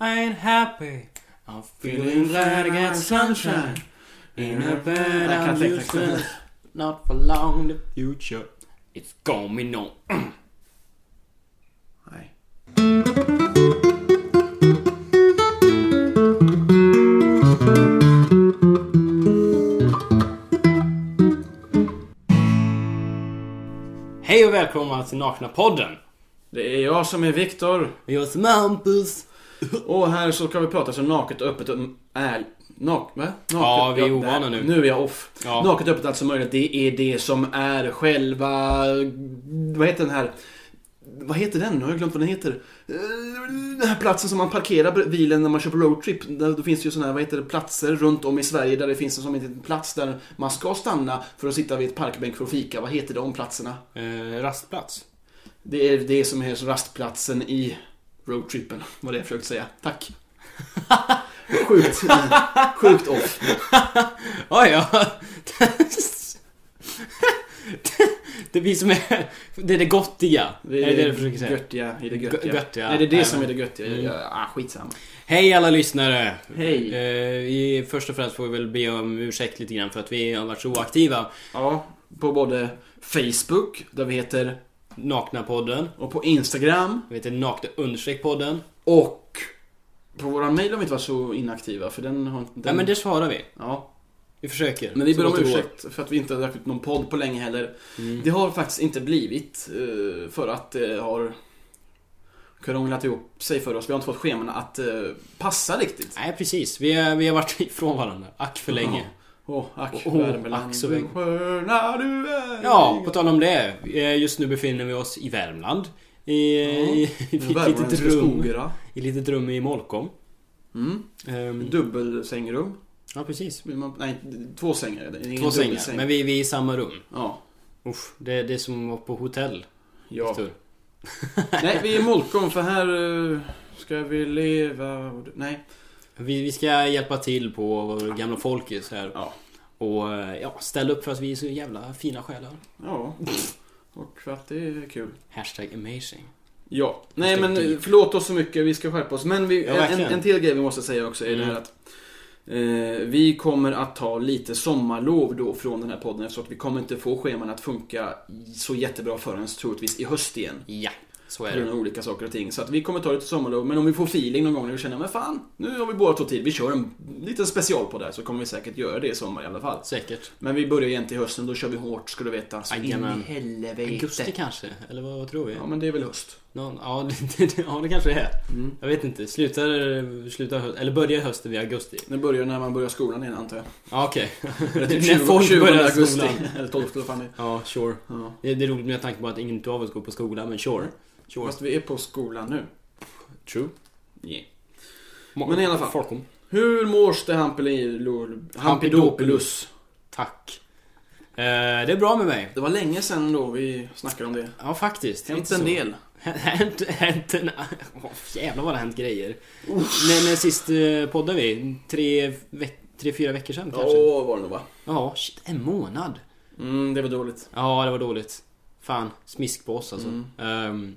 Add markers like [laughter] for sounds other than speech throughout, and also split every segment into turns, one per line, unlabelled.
I ain't happy.
I'm feeling glad I got sunshine in a bed.
Jag kan
I'm
inte
used
texten.
to not for long the future. It's coming on.
Nej.
Hej och välkomna till Nakna Podden.
Det är jag som är Viktor.
Vi är som Hampus.
Och här så kan vi prata så naket, öppet och är... Nak... Va? Naket,
Ja, vi är
öppet-
ovana nu.
Nu är jag off.
Ja.
Naket, öppet, alltså möjligt. Det är det som är själva... Vad heter den här... Vad heter den? Nu har jag glömt vad den heter. Eh, Den här platsen som man parkerar bilen när man kör på roadtrip. Där- Då finns det ju sådana här, vad heter det, platser runt om i Sverige där det finns en som heter en plats där man ska stanna för att sitta vid ett parkbänk för att fika. Vad heter de platserna?
Eh, [laughs] rastplats.
Det är det som är rastplatsen i roadtrippen, var det jag försökte säga. [laughs] Tack. Sjukt, sjukt off.
Ja, ja. [laughs] det vi som är... Det är det gottiga. Det är det du försöker säga.
Göttiga i det göttiga.
Göttiga.
Nej, det är det
Nej,
som är
men-
det göttiga.
Mm.
Ja, ah, skitsamma.
Hej alla lyssnare!
Hej.
Eh, vi, först och främst får vi väl be om ursäkt lite grann för att vi har varit så oaktiva.
Ja, på både Facebook, där vi heter,
Nakna-podden.
och på Instagram,
Vi heter nakna understreck podden.
och på våra mejl har vi inte varit så inaktiva, för den har inte... Den...
Nej men det svarar vi.
Ja,
Vi försöker.
men vi
Så
ber om
gott det går.
ursäkt för att vi inte har lagt ut någon podd på länge heller.
Mm.
Det har faktiskt inte blivit eh, för att det har krånglat ihop sig för oss. Vi har inte fått scheman att eh, passa riktigt.
Nej precis. Vi, har- vi har varit [laughs] ifrån varandra. Ack för länge.
Åh, ack,
Åh,
Värmeland,
ack så
du
länge.
sköna du är.
Ja, på tal om det. Eh, Just nu befinner vi oss i Värmland. I, i, i ett litet rum.
Skogera.
I ett litet rum i Molkom.
Mm.
Ehm,
Dubbelsängrum.
ja precis.
Vill man- Nej, två sängar är det. Ingen
Två sängar.
dubbelsäng.
Men vi, vi är i samma rum.
Ja.
Usch, det, det är som var på hotell.
ja.
Tur.
Nej, vi är i Molkom för här eh, ska vi leva... och- Nej.
Vi, vi ska hjälpa till på vår gamla folkis här.
Ja.
Och eh, ja, ställ upp för att vi är så jävla fina själar.
Ja. Och för att det är kul.
Hashtag amazing.
Ja, nej men
Perspektiv.
förlåt oss så mycket, vi ska skärpa oss. Men vi,
Ja,
en,
verkligen.
en till grej vi måste säga också är det här
Mm.
att eh, vi kommer att ta lite sommarlov då från den här podden eftersom att vi kommer inte få scheman att funka så jättebra förrän troligtvis i höst igen.
Ja, så är
På grund
det.
av olika saker och ting. Så att vi kommer ta lite sommarlov, men om vi får feeling någon gång när vi känner men fan, nu har vi båda tagit tid, vi kör en liten special på det här så kommer vi säkert göra det i sommar i alla fall.
Säkert.
Men vi börjar igen till hösten, då kör vi hårt ska du veta. Så in i
Jajamän. Augusti
helvete.
kanske? Eller vad, vad tror vi?
Ja
Ja,
men det är väl höst.
Någon, ja, [laughs] det, det, ja, det kanske det är.
Mm.
Jag vet inte. Slutar, slutar hö- eller börjar hösten vid augusti?
Det börjar när man börjar skolan igen antar jag.
[laughs] Ja, okej. [laughs]
Eller typ
När
20,
folk
20
börjar
augusti.
skolan.
[laughs] Eller 12 eller fan det är.
Ja, sure.
ja.
Det, det är roligt med tanke på att ingen av oss går på skolan, men sure. Sure.
Fast vi är på skolan nu.
True.
Men i alla fall.
Folkom.
Hur mår det Hampelilol- Hampidopilus?
Tack. Eh, det är bra med mig.
Det var länge sedan då vi snackade om det.
Ja, faktiskt.
Hänt
Inte
en
så.
del.
Hänt, hänt en... Åh, jävlar vad det har hänt grejer. Men, men sist eh, poddade vi, tre, veck, tre, fyra veckor sedan
Ja,
kanske?
var det nog va?
Ja, shit, en månad.
Mm, det var dåligt.
Ja, det var dåligt. Fan, smisk på oss alltså.
Mm.
Ehm,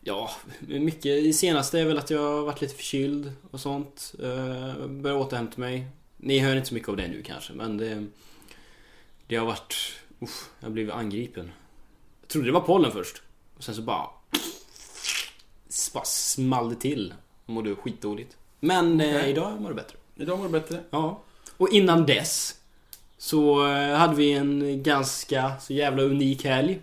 ja, mycket. Det senaste är väl att jag har varit lite förkyld och sånt. Uh, börjar återhämta mig. Ni hör inte så mycket av det nu kanske, men det... Det har varit... Uff, jag har blivit angripen. Jag trodde det var pollen först. Och sen så bara... Bara small det till. Jag Mådde skitdåligt. Men eh,
Okej.
idag mår det bättre.
Idag mår det bättre.
Ja. Och innan dess så eh, hade vi en ganska så jävla unik helg.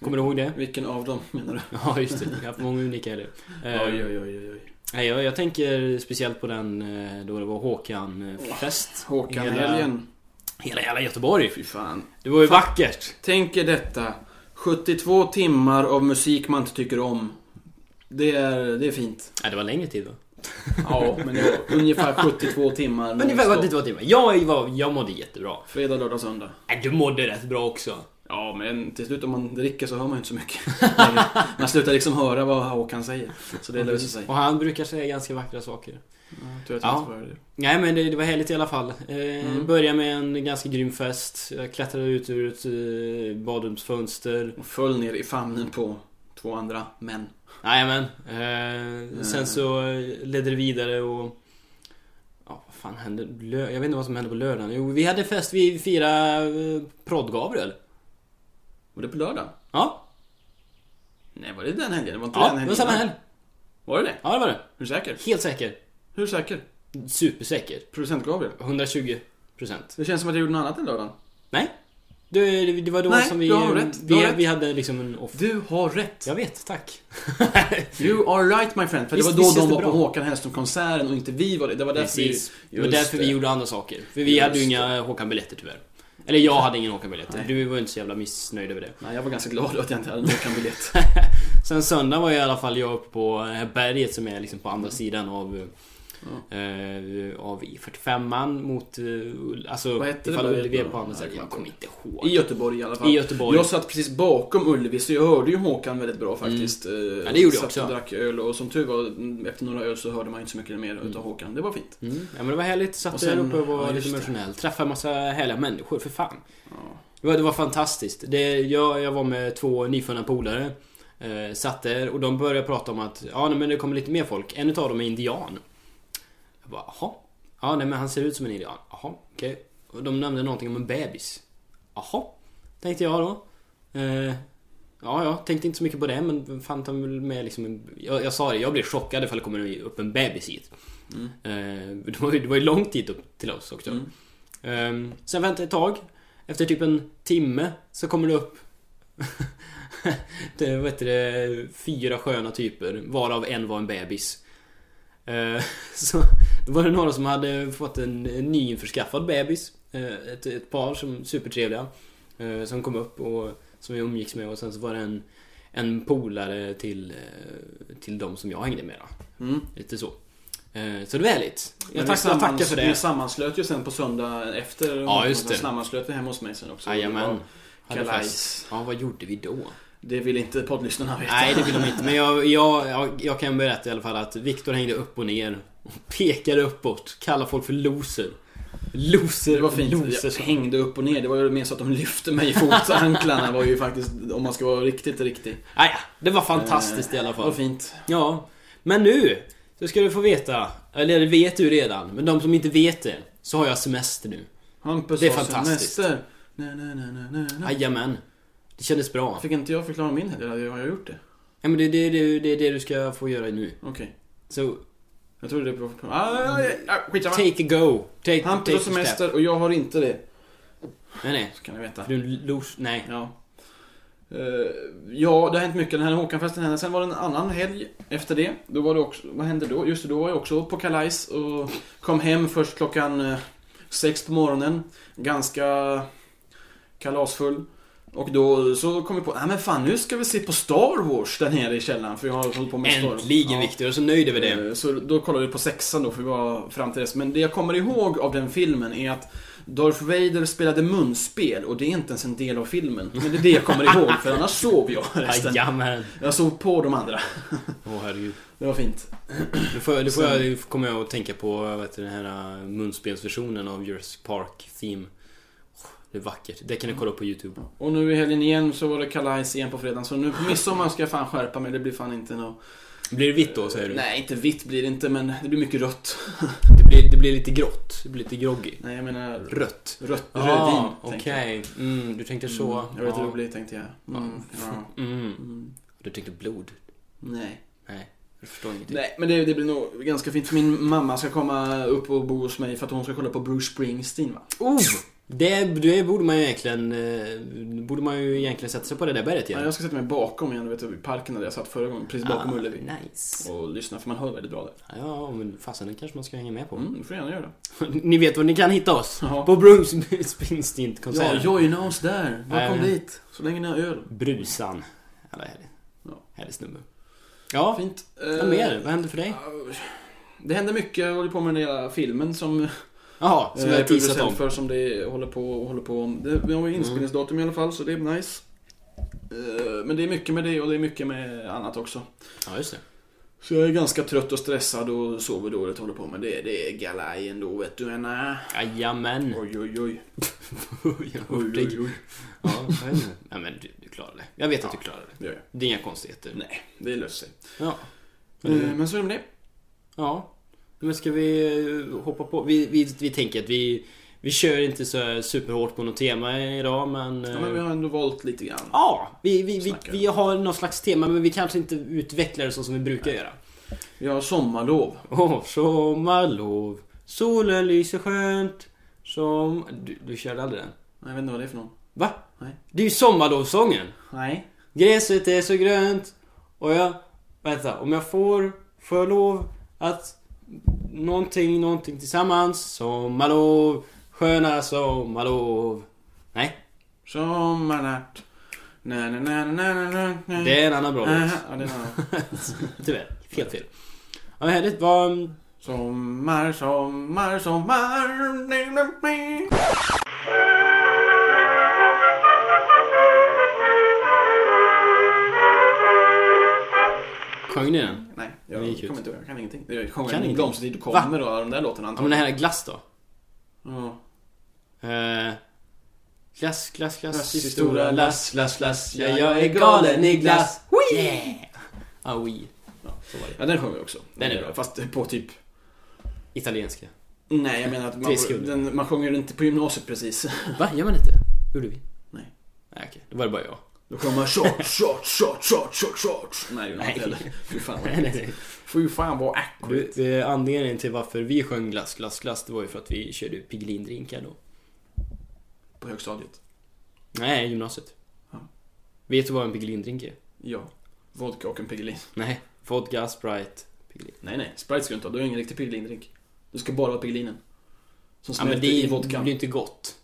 Kommer du ihåg det?
Vilken av dem menar du?
Ja, just det. Jag har haft många unika helger. Eh,
Oj, oj, oj, oj, oj.
nej, jag, jag tänker speciellt på den eh, då det var Håkan-fest. Hela,
Håkan-helgen.
hela jävla Göteborg.
Fy fan.
Det var ju vackert.
Tänk er detta. 72 timmar av musik man inte tycker om. Det är, det är fint.
Nej, det var längre tid va?
Ja, men det var ungefär 72 timmar.
Ungefär vad
nonstop.
det var timmar. Jag, var, jag mådde jättebra.
Fredag, lördag, söndag.
Nej, du mådde rätt bra också.
Ja, men till slut om man dricker så hör man ju inte så mycket. [laughs] längre. man slutar liksom höra vad Håkan säger. Så det löser sig.
Och han brukar säga ganska vackra saker.
Ja, Tur att jag
Ja.
inte får höra det.
Nej men det, det var härligt i alla fall. Eh,
Mm.
Började med en ganska grym fest. Jag klättrade ut ur ett eh, badrumsfönster.
Och föll ner i famnen på två andra män.
Nej men. Eh, sen så ledde det vidare och... Ja, vad fan hände? Lö- jag vet inte vad som hände på lördagen. Jo, vi hade fest. Vi firade eh, Prodd-Gabriel.
Var det på lördag?
Ja.
Nej, var det den helgen? Det var inte
Ja,
den
det
helgen.
var samma
innan.
helg.
Var det det?
Ja, det var det.
Hur säker?
Helt säker.
Hur säker?
Supersäker.
Producent Gabriel?
120 procent.
Det känns som att jag gjorde något annat den lördagen.
Nej. Det, det var då
Nej,
som vi...
du har rätt. Du har
Vi,
rätt.
vi hade liksom en off.
Du har rätt!
Jag vet, tack.
You are right my friend. För
Visst-
det
visst
var då
känns
de
det
var på
bra?
Håkan Hellström-konserten och inte vi var det. Det var därför
Precis.
vi...
Det var
Just eh,
därför vi
det.
gjorde andra saker. För vi
Just
hade ju inga Håkan-biljetter tyvärr. Eller jag hade ingen Håkan-biljetter.
Nej.
Du var ju inte så jävla missnöjd över det.
Nej, jag var ganska glad att jag inte hade en Håkan-biljett.
Sen söndag var jag i alla fall jag uppe på det här berget som är liksom på
Mm.
andra sidan av... Eh, av I45an mot... eh, Ull- Alltså
Vad hette det
ifall
berget
Ullevi är
då?
på andra
Nej,
sidan.
jag
Jag kommer inte ihåg.
I Göteborg i alla fall.
I Göteborg.
Jag satt precis bakom Ullevi så jag hörde ju Håkan väldigt bra faktiskt. Mm.
Ja, det gjorde jag också.
och drack öl och som tur var, mm, efter några öl så hörde man inte så mycket mer utav Håkan. Det var fint.
Mm. Ja men det var härligt. Satt
Och sen-
där uppe och var
ja, just
lite
det.
emotionell. Träffade en massa härliga människor, för fan.
Ja.
Det var, det var fantastiskt. Det, jag, jag var med två nyfunna polare. Eh, satt där och de började prata om att ja, nej, men det kommer lite mer folk. En utav dem är indian. Jag bara, jaha? Ja, nej, men han ser ut som en indian. Jaha, okej. Och de nämnde någonting om en bebis. Jaha, tänkte jag då. Eh, ja, jag tänkte inte så mycket på det, men fan ta väl med liksom en... Jag, jag sa det, jag blev chockad ifall det kommer upp en bebis hit.
Mm.
Eh, det, var ju, det var ju långt hit upp till oss också. Ehm, sen väntade jag ett tag. Efter typ en timme så kommer det upp [laughs] det, vad heter det, fyra sköna typer, varav en var en bebis. Eh, [laughs] Så då var det några som hade fått en en nyinförskaffad bebis. Eh, Ett, ett par som supertrevliga. eh, Som kom upp och som vi umgicks med och sen så var det en, en polare till, eh, till de som jag hängde med då.
Mm.
Lite så. Eh, Så det var härligt.
Men
Jag,
vi
tack, jag tackar för
Vi
det.
sammanslöt ju sen på söndag efter Håkan,
just
så
det.
Sammanslöt vi hemma hos mig sen också. Det
Jajamän.
var
Hade
Kalajs.
fest. Ja, vad gjorde vi då?
Det vill inte poddlyssnarna veta.
Nej, det vill de inte. Men jag, jag, jag, jag kan berätta i alla fall att Viktor hängde upp och ner. Och pekade uppåt. Kallade folk för loser. Loser,
Det var fint.
loser.
Jag hängde upp och ner. Det var ju mer så att de lyfte mig i fotanklarna. var ju faktiskt, om man ska vara riktigt riktig.
Ah, ja, det var fantastiskt i alla
Eh, Det var
fall.
fint.
Ja. Men nu så ska du få veta. Eller det vet du redan. Men de som inte vet det. Så har jag semester nu.
Hampus
Det är
har
fantastiskt.
semester. Nej, nej, nej, nej, nej, nej.
Jajamän. Det kändes bra.
Fick inte jag förklara min helg? Eller har jag gjort det?
Ja, men det, det, det, det är det du ska få göra nu.
Okej.
Så
Jag trodde det var... Ah, ja, ja, skitsamma.
take a go. Take, take
Hampus
a
har
step.
semester och jag har inte det.
Nej, nej.
Så kan ni veta.
För du är en los... Nej.
Ja. Eh, ja, det har hänt mycket. Den här Håkanfesten hände. Sen var det en annan helg efter det. Då var det också... Vad hände då? Just det, då var jag också på Kalais och kom hem först klockan eh, sex på morgonen. Ganska kalasfull. Och då eh, så kom vi på, nej men fan nu ska vi se på Star Wars där nere i källaren. För jag har hållit på med Star Wars.
Äntligen
Ja.
Viktor. Jag är så nöjd över det.
Eh, Så då kollade vi på sexan då, för vi var fram till dess. Men det jag kommer ihåg av den filmen är att Darth Vader spelade munspel och det är inte ens en del av filmen. Men det är det jag kommer ihåg, för annars sov jag resten.
Jajamän.
Jag sov på de andra.
Åh herregud.
Det var fint.
Nu får, jag- nu får jag, kommer jag att tänka på vet du, den här äh, munspelsversionen av Jurassic Park Theme. Åh, Det är vackert. Det kan ni kolla upp på YouTube.
Och nu i helgen igen så var det kalajs igen på fredagen. Så nu på midsommar ska jag fan skärpa mig. Det blir fan inte något...
Blir det vitt då säger du?
Nej, inte vitt blir det inte, men det blir mycket rött.
Det blir, det blir lite grått. Det blir lite groggy.
Nej, jag menar rött.
Rött.
Rött
Ah,
rödvin. tänker jag.
Okej. Mm, du tänkte så.
Mm, jag vet hur det
ja.
blir, tänkte jag. Mm, ja.
Mm.
mm.
Du tänkte blod.
Nej.
Nej. Du förstår ingenting.
Nej, men det, det blir nog ganska fint för min mamma ska komma upp och bo hos mig för att hon ska kolla på Bruce Springsteen va?
Oh! Det, det borde man ju egentligen... eh, Borde man ju egentligen sätta sig på det där berget
Ja.
igen. Ah,
Jag ska sätta mig bakom igen, du vet, i parken där jag satt förra gången, precis bakom Ullevi.
Nice.
Och lyssna, för man hör väldigt bra där.
Ja, men fasen det kanske man ska hänga med på.
Mm, det får du gärna göra.
[laughs] Ni vet var ni kan hitta oss.
Ja.
På Bruce Springsteen-konserten.
Ja, joina oss där, bakom
Jajamän.
dit. Så länge ni har öl.
Brusan. Jävla härlig.
Ja. Eh,
Härlig snubbe. Ja,
Fint.
vad mer? Vad hände för dig?
Det händer mycket, jag håller på med den hela filmen som,
Jaha, som
eh,
jag har teasat
producent
om. Mm.
för som det håller på och håller på om. Det, vi har ju inspelningsdatum i alla fall så det är nice. Eh, Men det är mycket med det och det är mycket med annat också.
Ja, just det.
Så jag är ganska trött och stressad och sover dåligt håller på med det. Det är galaj ändå vet du. Anna.
Jajamän. [laughs]
Oj oj oj.
Jag har
oj,
hört dig.
oj, oj.
Ja, jag vet inte. Nej men du, du klarar det. Jag vet att du klarar det.
Det gör jag.
Det är inga konstigheter.
Nej, det löser sig.
Ja.
Eh,
Mm.
Men så är det med det.
Ja. Men ska vi eh, hoppa på? Vi, vi, vi tänker att vi, vi kör inte så här superhårt på något tema idag men... eh,
Ja, men vi har ändå valt lite grann.
Ja, vi, vi, vi,
Snackar.
vi har någon slags tema men vi kanske inte utvecklar det så som vi brukar göra.
Vi har sommarlov.
Åh, sommarlov, solen lyser skönt. Som... Du, du körde aldrig den?
Nej, Jag vet inte vad det är för någon.
Va?
Nej.
Det är ju sommarlovsången!
Nej.
Gräset är så grönt och jag... Vänta, om jag får, får jag lov att... Någonting, någonting tillsammans. Sommarlov, sköna sommarlov. Nej,
Sommarnatt. Na, na, na, na, na, na, na.
det är en annan bra låt.
Aha, Äh, ja, det är en annan.
[laughs] Tyvärr, helt fel. Ja, men härligt. Vad...
Sommar, sommar, sommar.
Sjöng ni den?
Nej,
Det
jag
gick
kommer
ut.
inte ihåg. Jag kan ingenting. Jag sjunger
Kan
kan
ingenting.
Blomstertid och kommer och de där låtarna
Ja, men
antagligen.
det här är glass då.
Ja.
Eh, glass, glass, glass
Glass
i
i
stora
stora
lass, lass, lass. Ja,
Ja,
jag är galen i glass. Wee! Yeah! Ah, oui.
Ja.
Så var det.
Ja, den sjunger vi också.
Den är bra.
Fast på typ...
Italienska.
Nej, jag menar att man,
Tre sekunder.
den, man sjunger den inte på gymnasiet precis.
Va? Gör man inte? Gjorde vi?
Nej.
Nej, okej. Då var det bara jag.
Då sjunger man shots, shots, shots, shots, shots, shots. Nej, det gör man inte
Nej.
heller. Fy fan vad
Nej, [laughs] nej, nej.
Fy fan vad
Du,
äckligt.
det- anledningen till varför vi sjöng glass, glass, glass det var ju för att vi körde piglindrinkar då.
På högstadiet.
Nej, gymnasiet.
Ja.
Vet du vad en piglindrink är?
Ja. Vodka och en Piggelin.
Nej. Vodka, Sprite, Piglin.
Nej, nej. Sprite ska du inte ha. Du har ingen riktig Piggelindrink. Du ska bara ha Piggelinen. Som
Ja,
smälter
men det
i
är, det
vodkan.
är ju inte gott.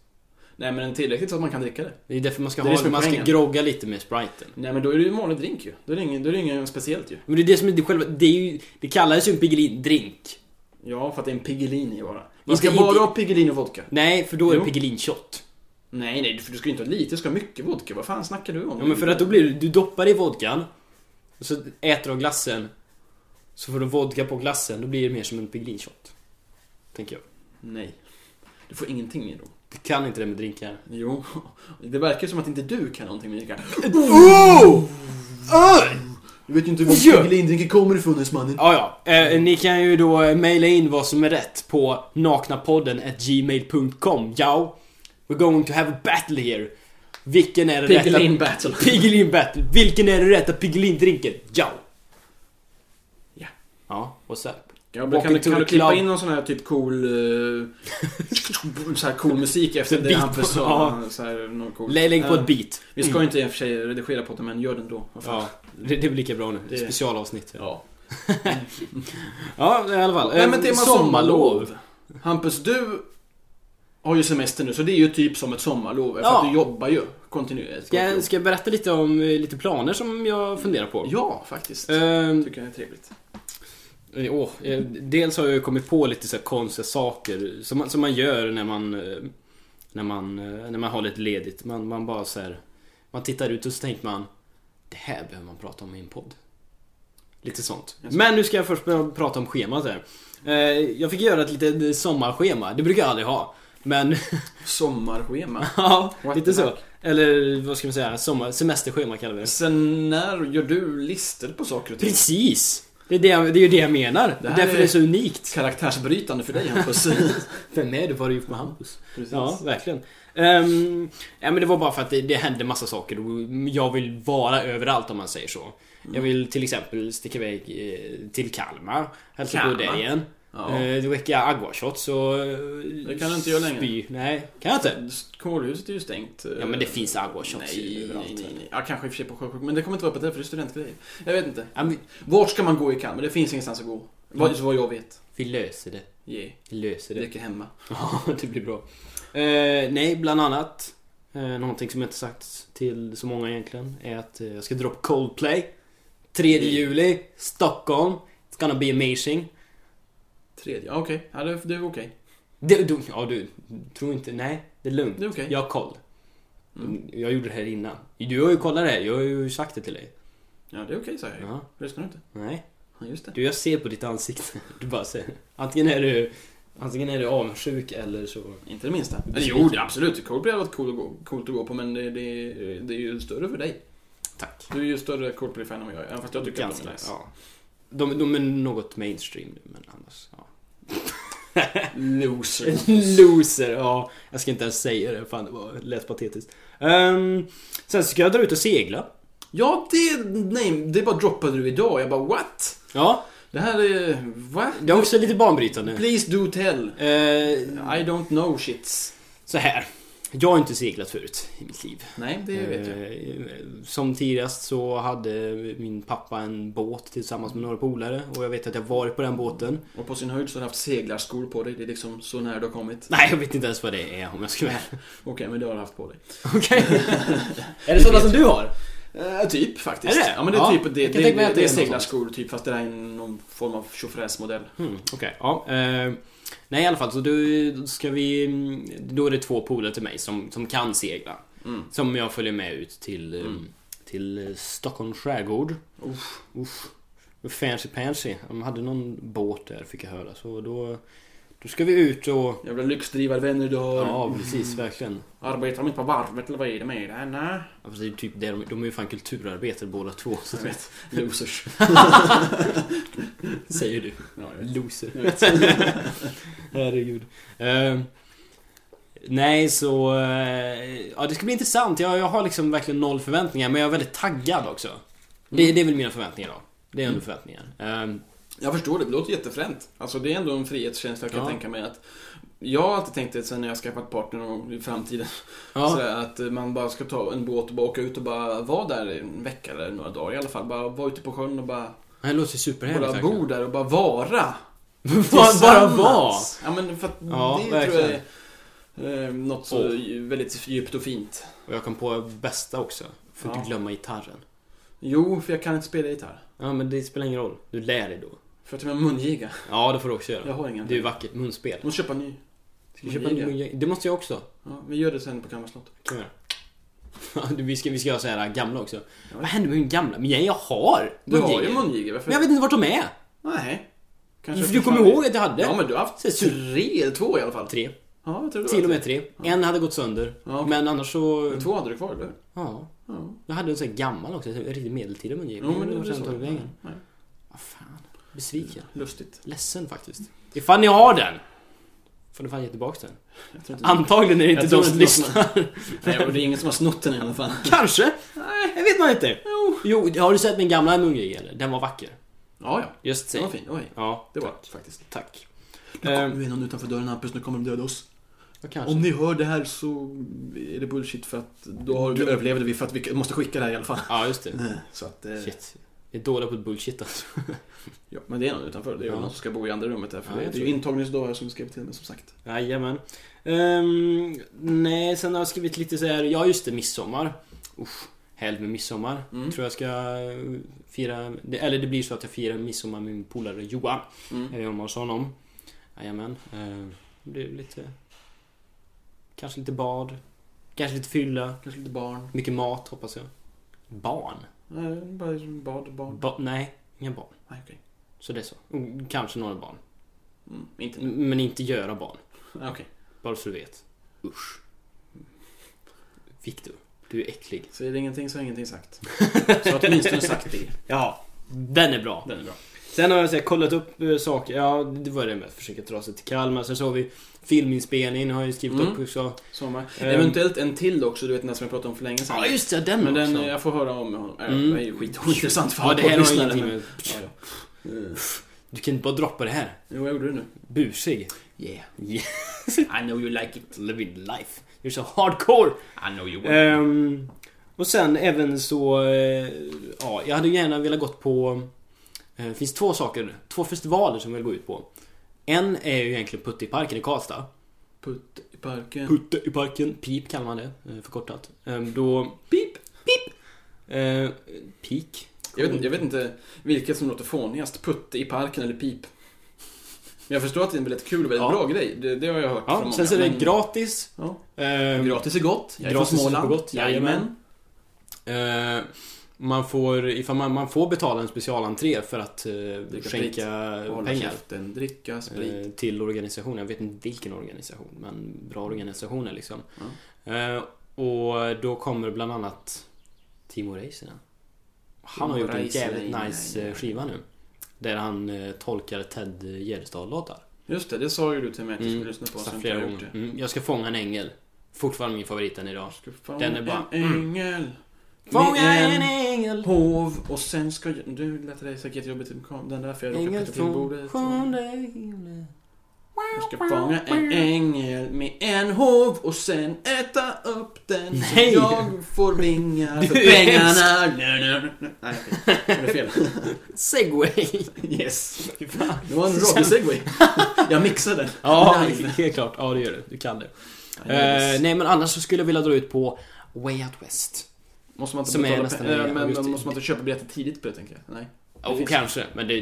Nej, men den är tillräckligt så att man kan dricka det.
Det är därför man ska
Det är
ha
det som är
Man ska
poängen.
grogga lite med Spriten.
Nej, men då är det ju en vanlig drink ju. Då är det ingen, då är det ingen speciellt ju.
Men det är det som är det själva... Det, är ju, det kallas ju en piglindrink.
Ja, för att det är en Piggelin i bara. Man ska
Inte-
bara
inte-
ha Piggelin och vodka.
Nej, för då är det
Jo.
pigelinshot.
Nej, nej, för du ska ju inte ha lite, du ska ha mycket vodka. Vad fan snackar du om?
Ja, men för att då blir det... Du doppar i vodkan. Och så äter du av glassen. Så får du vodka på glassen. Då blir det mer som en pigelinshot. Tänker jag.
Nej. Du får ingenting i dem.
Du kan inte det med drinkar.
Jo. Det verkar som att inte du kan någonting med dricka.
Oh! Öh!
Du vet ju inte var
Ja.
Piggelindrinken kommer ifrån ens mannen.
Ja, ja. Eh, ni kan ju då eh, mejla in vad som är rätt på naknapodden at gmail.com. Ja. We're going to have a battle here. Vilken är det
Piggelin
rätta...
battle.
Piggelin battle. Vilken är det rätta Piggelin-drinken? Ja.
Ja.
Ja, och sen...
Ja, men
Walking
kan, du-
to
kan
the
du klippa
club.
in någon sån här typ cool... eh, så här cool musik efter
Så
det
beat-
Hampus sa.
ja.
Så här, någon cool.
Lä- Lägg på
Ja.
ett beat.
Vi ska ju inte i och för sig redigera på det, men gör det ändå. Vad fan.
Ja, det, det blir lika bra nu.
Det-
Specialavsnitt. Ja.
ja.
i alla fall.
Nej
Eh,
men tema sommarlov. Hampus, du har ju semester nu så det är ju typ som ett sommarlov. För
Ja.
att du jobbar ju kontinuerligt.
Ska jag, ska jag berätta lite om eh, lite planer som jag funderar på?
Ja, faktiskt.
Ehm,
Tycker jag är trevligt.
Eh, åh, eh, dels har jag ju kommit på lite så här konstiga saker som man, som man gör när man, eh, när man eh, När man har lite ledigt. Man, man bara så här, Man tittar ut och så tänker man Det här behöver man prata om i en podd. Lite sånt.
Jaså.
Men nu ska jag först börja prata om schemat här. Eh, Jag fick göra ett litet eh, sommarschema. Det brukar jag aldrig ha. Men [laughs]
Sommarschema.
ja,
What
lite
the
så. Eller vad ska man säga? Sommar, semesterschema kallar vi det.
Sen när gör du listor på saker och
[laughs]
ting?
Precis! Det är, det, jag- det är ju det jag menar. Det
här
därför
är-
det är så unikt.
Karaktärsbrytande för
[laughs]
dig Hampus.
Vem är du? Vad har du gjort med Hampus?
Precis.
Ja, verkligen. Ehm, ja, men det var bara för att det, det hände massa saker och jag vill vara överallt om man säger så.
Mm.
Jag vill till exempel sticka iväg eh, till Kalmar, hälsa på
Kalmar?
dig igen.
Ja.
Eh, dricka aguashots och... eh,
Det kan du inte göra längre.
Spy. Nej, kan jag inte?
Kårhuset är ju stängt. eh,
Ja, men det finns aguashots
Nej,
överallt.
nej, nej. Ja, kanske i och för sig på Sjösjuk, men det kommer inte vara öppet där för det är studentgrejer. Jag vet inte.
Ja, men
Vart ska man gå i Kalmar? Det finns ingenstans att gå. Vad, vad jag vet.
vi löser det.
Yeah.
Vi löser det.
Dricker hemma.
Ja, [laughs] det blir bra. Eh, nej, bland annat. Eh, någonting som jag inte sagt till så många egentligen är att eh, jag ska dra på Coldplay. 3
Mm.
juli, Stockholm. It's gonna be amazing.
Tredje, ja okej. Ja, det, det är okej.
Det, du, ja, du tror inte... Nej, det är lugnt.
Det är okej.
Jag har koll.
Mm.
Jag gjorde det här innan. Du har ju kollat det här. Jag har ju sagt det till dig.
Ja, det är okej sa jag ju.
Ja,
Lyssnar du inte?
nej.
Ja, just det.
Du, jag ser på ditt ansikte. [laughs] Du bara ser. Antingen är du, antingen är du avundsjuk eller så...
Inte det minsta.
Besviken.
Jo, det är absolut. Coldplay hade varit coolt att, gå, coolt att gå på, men det, det, det är ju större för dig.
Tack.
Du är ju större Coldplay-fan än vad jag är, även fast jag tycker att de är nice.
Ja. De, de är något mainstream nu, men annars... Ja. [laughs]
Loser.
Loser, ja. Jag ska inte ens säga det. Fan, det var, lät patetiskt. Ehm, sen ska jag dra ut och segla.
Ja, det, nej, det bara droppade du idag. Jag bara what?
Ja,
Det här är... Va?
det är också lite banbrytande.
Please do tell.
Ehm,
I don't know shits.
så här. Jag har inte seglat förut i mitt liv.
Nej, det vet jag.
Eh, Som tidigast så hade min pappa en båt tillsammans med några polare och jag vet att jag varit på den båten.
Och på sin höjd så har du haft seglarskor på dig. Det är liksom så nära du har kommit.
Nej, jag vet inte ens vad det är om jag ska vara ärlig. [laughs]
Okej, men det har du haft på dig.
Okej. är det sådana som du har?
Eh, typ faktiskt.
Är det?
Ja, men det är
Ja,
typ det.
jag
Det,
kan tänka mig
det,
att det
är
är något
seglarskor typ, fast det där är någon form av tjofräsmodell.
Hmm, Okej, ja. Eh, nej, i alla fall så då ska vi... Då är det två polare till mig som, som kan segla.
Mm.
Som jag följer med ut till, eh, till eh, Stockholms skärgård.
Uff.
Uff. Fancy pansy. De hade någon båt där fick jag höra. Så då, då ska vi ut och...
Jävla lyxdrivarvänner du har.
Ja, precis. Verkligen.
Arbetar de inte på varvet eller vad är det med det? Nej.
Ja, fast det är ju typ det, de, de är ju fan kulturarbetare båda två. Så
Jag vet. Losers.
säger du.
Ja, jag vet.
Loser.
Jag vet.
[laughs] Herregud. Eh, nej, så... eh, ja, det ska bli intressant. Jag, jag har liksom verkligen noll förväntningar, men jag är väldigt taggad också. Det,
Mm.
det är väl mina förväntningar då. Det är ändå förväntningar. Eh,
Jag förstår det, det låter jättefränt. Alltså det är ändå en frihetskänsla jag kan
Ja.
tänka mig att jag har alltid tänkt det sen när jag skaffat partner någon gång i framtiden.
ja,
Sådär, att man bara ska ta en båt och bara åka ut och bara vara där en vecka eller några dagar i alla fall. Bara vara ute på sjön och bara,
det låter ju superhärligt. [laughs]
bara
verkligen.
bo där och bara vara.
Bara- Bara vara!
Tillsammans. Ja men för att
Ja,
det tror
verkligen.
jag är eh, något så väldigt djupt och fint.
Och jag kom på bästa också. Får
Ja.
inte glömma gitarren.
Jo, för jag kan inte spela gitarr.
Ja, men det spelar ingen roll. Du lär dig då.
För att jag har mungiga.
Ja, det får du också göra.
Jag har ingen.
Det är ju vackert. Munspel.
Jag måste köpa en ny.
Ska vi köpa en
Mungiga.
mungiga? Det måste jag också.
Ja, vi gör det sen på Gamla slott.
Kan vi göra. Ja, du, [laughs] vi, ska, vi ska göra så här gamla också. Vad händer med min gamla? Men jag, jag har
Du har
mungiga.
ju mungiga, varför?
Men jag vet inte vart de är.
Nej.
För du kommer ihåg att jag hade?
Ja, men du har haft
Precis.
tre, två i alla fall.
Tre.
Ja, jag tror det var
Till och med
tre.
tre. En hade gått sönder.
Ja.
Men annars så...
Men Två hade du kvar, eller hur?
Ja.
Ja.
Jag hade en sån här gammal också. En riktigt medeltida mungiga.
Jo, men det var
sen tagit
så.
vägen.
Nej,
Vad fan. Besviken.
lustigt.
Ledsen faktiskt. Ifall ni har den. Får ni fan ge tillbaka den.
Jag tror inte
Antagligen är det
Jag
inte
tror
de som
inte någon-
lyssnar.
Ah. Nej, och det är ingen som har snott den i alla fall.
[laughs] Kanske. Nej, det vet man inte. Jo. har du sett min gamla mungiga eller? Den var vacker.
Ja, ja.
Just
Det
say.
var fint. Oj.
Ja,
Det var det faktiskt.
Tack.
Nu
Eh,
kommer vi någon utanför dörren Hampus, nu kommer de döda oss.
vad kanske.
Om ni hör det här så är det bullshit för att då har du överlevde vi för att vi måste skicka det här i [laughs] alla fall.
Ja, just det.
Eh, Så att, eh,
Shit. Jag är dålig på bullshit alltså.
ja, men det är någon utanför. Det är
Ja.
någon som ska bo i andra rummet där. För
Ja,
det
jag
är ju
tror det.
intagningsdag här som vi skrev till mig som sagt.
Jajamän. Um, nej, sen har jag skrivit lite så här. Ja, just det. Midsommar. Usch. Helg med midsommar.
Mm.
Tror jag ska eh, fira. det- Eller det blir så att jag firar midsommar med min polare Johan.
Mm.
Jag är hemma hos honom. Jajamän. Uh, det blir lite... Kanske lite bad. Kanske lite fylla.
Kanske lite barn.
Mycket mat hoppas jag. Barn?
Nej, bara bad, barn.
Ba- nej, inga barn.
Nej, okej.
Så det är så. Mm, Kanske några barn.
Mm, inte nu.
Men inte göra barn.
Ah, Okej.
Bara så du vet. Usch. Viktor, du är äcklig.
Så är det ingenting så är
[laughs]
ingenting sagt. Så att åtminstone sagt det.
Ja. Den är bra.
Den är bra.
Sen har jag så här, kollat upp eh, saker. Ja, det var det med att försöka dra sig till Kalmar. Sen så har vi filminspelningen har jag ju skrivit
Mm.
upp också.
Sommar.
Ehm.
Eventuellt en till också, du vet den där som jag pratade om för länge sedan.
Ja, just det. Den
Men den,
också.
eh, jag får höra om honom. Äh,
Mm.
Det är ju skitintressant för
ja, det här har
poddlyssnare,
ingenting
men-
med...
Ja, ja. Eh,
Du kan inte bara droppa det här.
Jo, jag gjorde det nu.
Busig.
Yeah.
Yeah.
[laughs] I know you like it.
Living life. You're so hardcore.
I know you will.
Ehm, och sen även så... eh, ja, jag hade gärna velat gått på... eh, Det finns två saker, två festivaler som jag vill gå ut på. En är ju egentligen Putteparken i Karlstad.
Putt i parken.
Putteparken, PIP kallar man det eh, förkortat. Ehm, då...
Pip.
Uh, peak.
Jag vet, jag vet inte vilket som låter fånigast. Putte i parken eller pip. Men jag förstår att det är en väldigt kul och väldigt
Ja.
bra grej. Det, det har jag hört från
Ja,
många.
sen så är det
Men-
gratis.
Ja.
Ehm,
Gratis är gott. Jag är
Gratis
från
är
Småland.
supergott.
Jajamän.
Jajamän. Eh, Man får, ifall man, man får betala en specialentré för att eh,
Dricka
skänka
Och hålla
pengar
käften, dricka sprit.
eh, till organisationen. Jag vet inte vilken organisation, men bra organisationer liksom.
Mm. Ja.
Eh, och då kommer bland annat Timo Räisänen. Han har
Timo
gjort en jävligt
Räisänen,
nice
ja, ja.
eh, skiva nu. Där han eh, tolkar Ted Gärdestad-låtar.
Just det, det sa ju du till mig att jag
Mm,
skulle lyssna på.
Så
så inte
flera
jag har gjort
gånger. Mm, jag ska fånga en ängel. Fortfarande min favorit än idag.
Jag ska fånga
Den är bara- Mm.
en ängel.
Fånga
med
en ängel!
Hov och sen ska jag... Du lät det säkert jobbigt i kom. Den där för jag råkade
Ängel
putta till bordet.
från sjunde
[laughs]
himlen.
Jag ska fånga en ängel med en hov och sen äta upp den
Nej.
så jag får vingar för
Du är
pengarna. Nej, okej. det är fel.
[laughs] Segway!
Yes.
Fy fan.
Det var
[laughs]
en radio-segway. Jag mixade den.
Ja,
Live.
helt klart. Ja, det gör du. Du kan det.
Yes.
Eh, nej, men annars så skulle jag vilja dra ut på Way Out West.
Måste man inte
som är
betala
nästan
pe-
en-
eh, men,
just
men
det.
måste man inte köpa biljetter tidigt på det tänker jag? Nej. Det
Och
finns-
kanske, men det...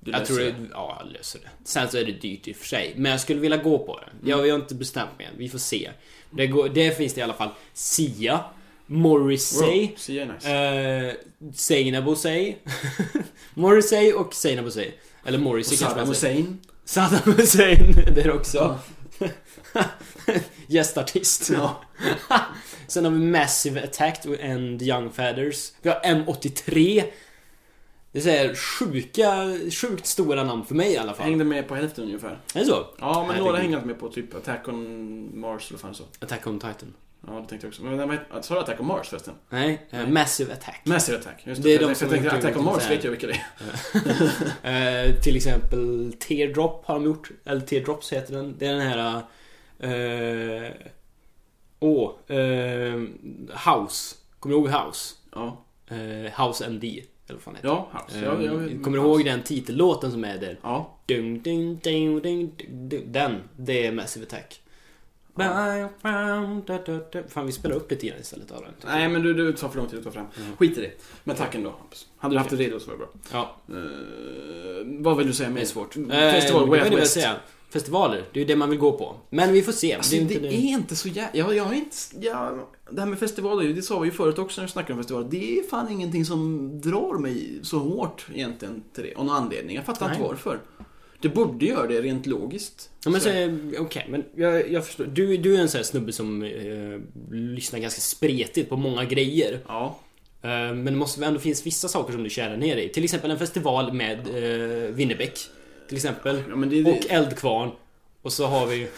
Du
jag
löser
tror det. Ja, jag löser det. Sen så är det dyrt i och för sig. Men jag skulle vilja gå på det.
Mm.
Jag, jag har inte bestämt mig än. Vi får se. Det, går, det finns det i alla fall Sia, Morrissey,
Wow, Sia är nice.
eh, Seinabosey. [laughs] Morrissey och Seinabosey. Eller
och
Morrissey kanske
Saddam
man säger.
[laughs] Hussein.
Saddam Hussein, [laughs] det är också. Gästartist.
Ja.
[laughs] Sen har vi Massive Attack and Young Fathers. Vi har M83. Det är så här sjuka, sjukt stora namn för mig i alla fall.
Hängde med på hälften ungefär.
Är det så?
Ja, men
Herregud.
några hängde jag inte med på. Typ Attack on Mars eller fan så.
Attack on Titan.
Ja, det tänkte jag också. Men vad heter- sa du Attack on Mars förresten?
Nej, eh,
Nej.
Massive Attack.
Massive Attack. Just
Det är
Jag
de
tänkte-
som
jag tänkte
har gjort
Attack on
lite
Mars
så här-
vet jag vilka det är.
[laughs] Eh, till exempel Teardrop har de gjort. Eller Teardrops heter den. Det är den här... eh, Åh, eh, House. Kommer du ihåg House?
Ja,
Eh, House MD. Eller vad fan heter
ja House.
det?
Alltså, Jag, jag,
Eh, Kommer du ihåg den titellåten som är där?
Ja.
Dun, dun, dun, dun, dun. Den, det är Massive Attack. Fan, vi spelar upp lite grann istället av den.
Nej, men du, du tar för lång tid att ta fram.
Mm.
Skit i det. Men tack ändå, Hampus. Hade du haft det redo så var det bra.
Ja,
Eh, vad vill du säga
det
mer?
är svårt.
Festival,
Eh, vad
Way Out
vill jag
West.
säga? Festivaler, det är ju det man vill gå på. Men vi får se.
Alltså, det, är inte så jävla... Jag, jag har inte... Jag, det här med festivaler, det sa vi ju förut också när vi snackade om festivaler. Det är fan ingenting som drar mig så hårt egentligen till det. Av någon anledning. Jag fattar
Nej.
inte varför. Det borde göra det rent logiskt.
Ja, men
Så-
så, okej, men jag, jag förstår. Du, du är en sån här snubbe som eh, lyssnar ganska spretigt på många grejer.
Ja.
Eh, men det måste väl ändå finnas vissa saker som du kärar ner dig i. Till exempel en festival med eh, Winnerbäck. Till exempel.
ja men det, det,
Och Eldkvarn. Och så har vi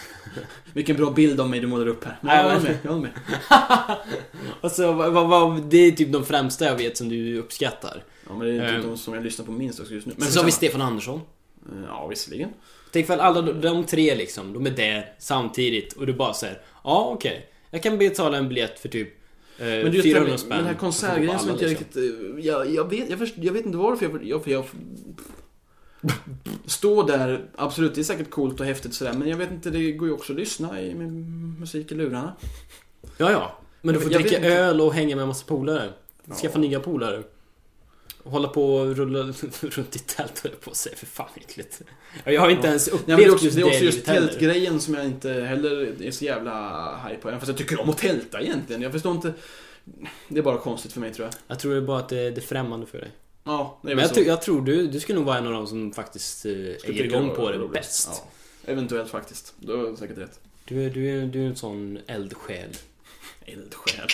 vilken bra bild av mig du målar upp här. Men
Ja,
jag håller
men-
med. Jag håller med.
Alltså, vad, vad, vad, det är typ de främsta jag vet som du uppskattar.
Ja, men det är
Eh.
inte de som jag lyssnar på minst också just nu. Men
Sen så har vi
skitsamma.
Stefan Andersson.
Eh, Ja, visserligen.
Tänk för alla de, de tre liksom, de är där samtidigt och du bara säger Ja, okej. Jag kan betala en biljett för typ eh,
Men det är just det här
400
med-
spänn.
med den här konsertgrejen
Och så
som
får
inte
alla, liksom.
jag riktigt... eh, Jag, jag, vet, jag, först, jag vet inte varför jag... jag, för jag stå där, absolut, det är säkert coolt och häftigt sådär, men jag vet inte, det går ju också att lyssna i min musik i lurarna.
Ja, ja. Men du
Jag-
får
jag vet
dricka
inte.
öl och hänga med en massa polare. Skaffa
Ja.
nya polare. Och hålla på och rulla [laughs] runt i tält höll jag på att säga. För fan äckligt. Jag har inte
Ja.
ens
Nej, men
upplevt
det är också, det är också
livet
just
heller.
tältgrejen som jag inte heller är så jävla haj på, även fast jag tycker om att tälta egentligen. Jag förstår inte... Det är bara konstigt för mig tror jag.
Jag tror det är bara att det är det är främmande för dig.
Ja, det är
Men
väl
jag,
så.
tror- jag tror du, du skulle nog vara en av de som faktiskt eh,
Skulle
är
tycka
igång
var
på det
roligt.
bäst.
Ja, eventuellt faktiskt. Du har säkert rätt.
Du, är- du, är- du är en sån eldsjäl.
Eldsjäl.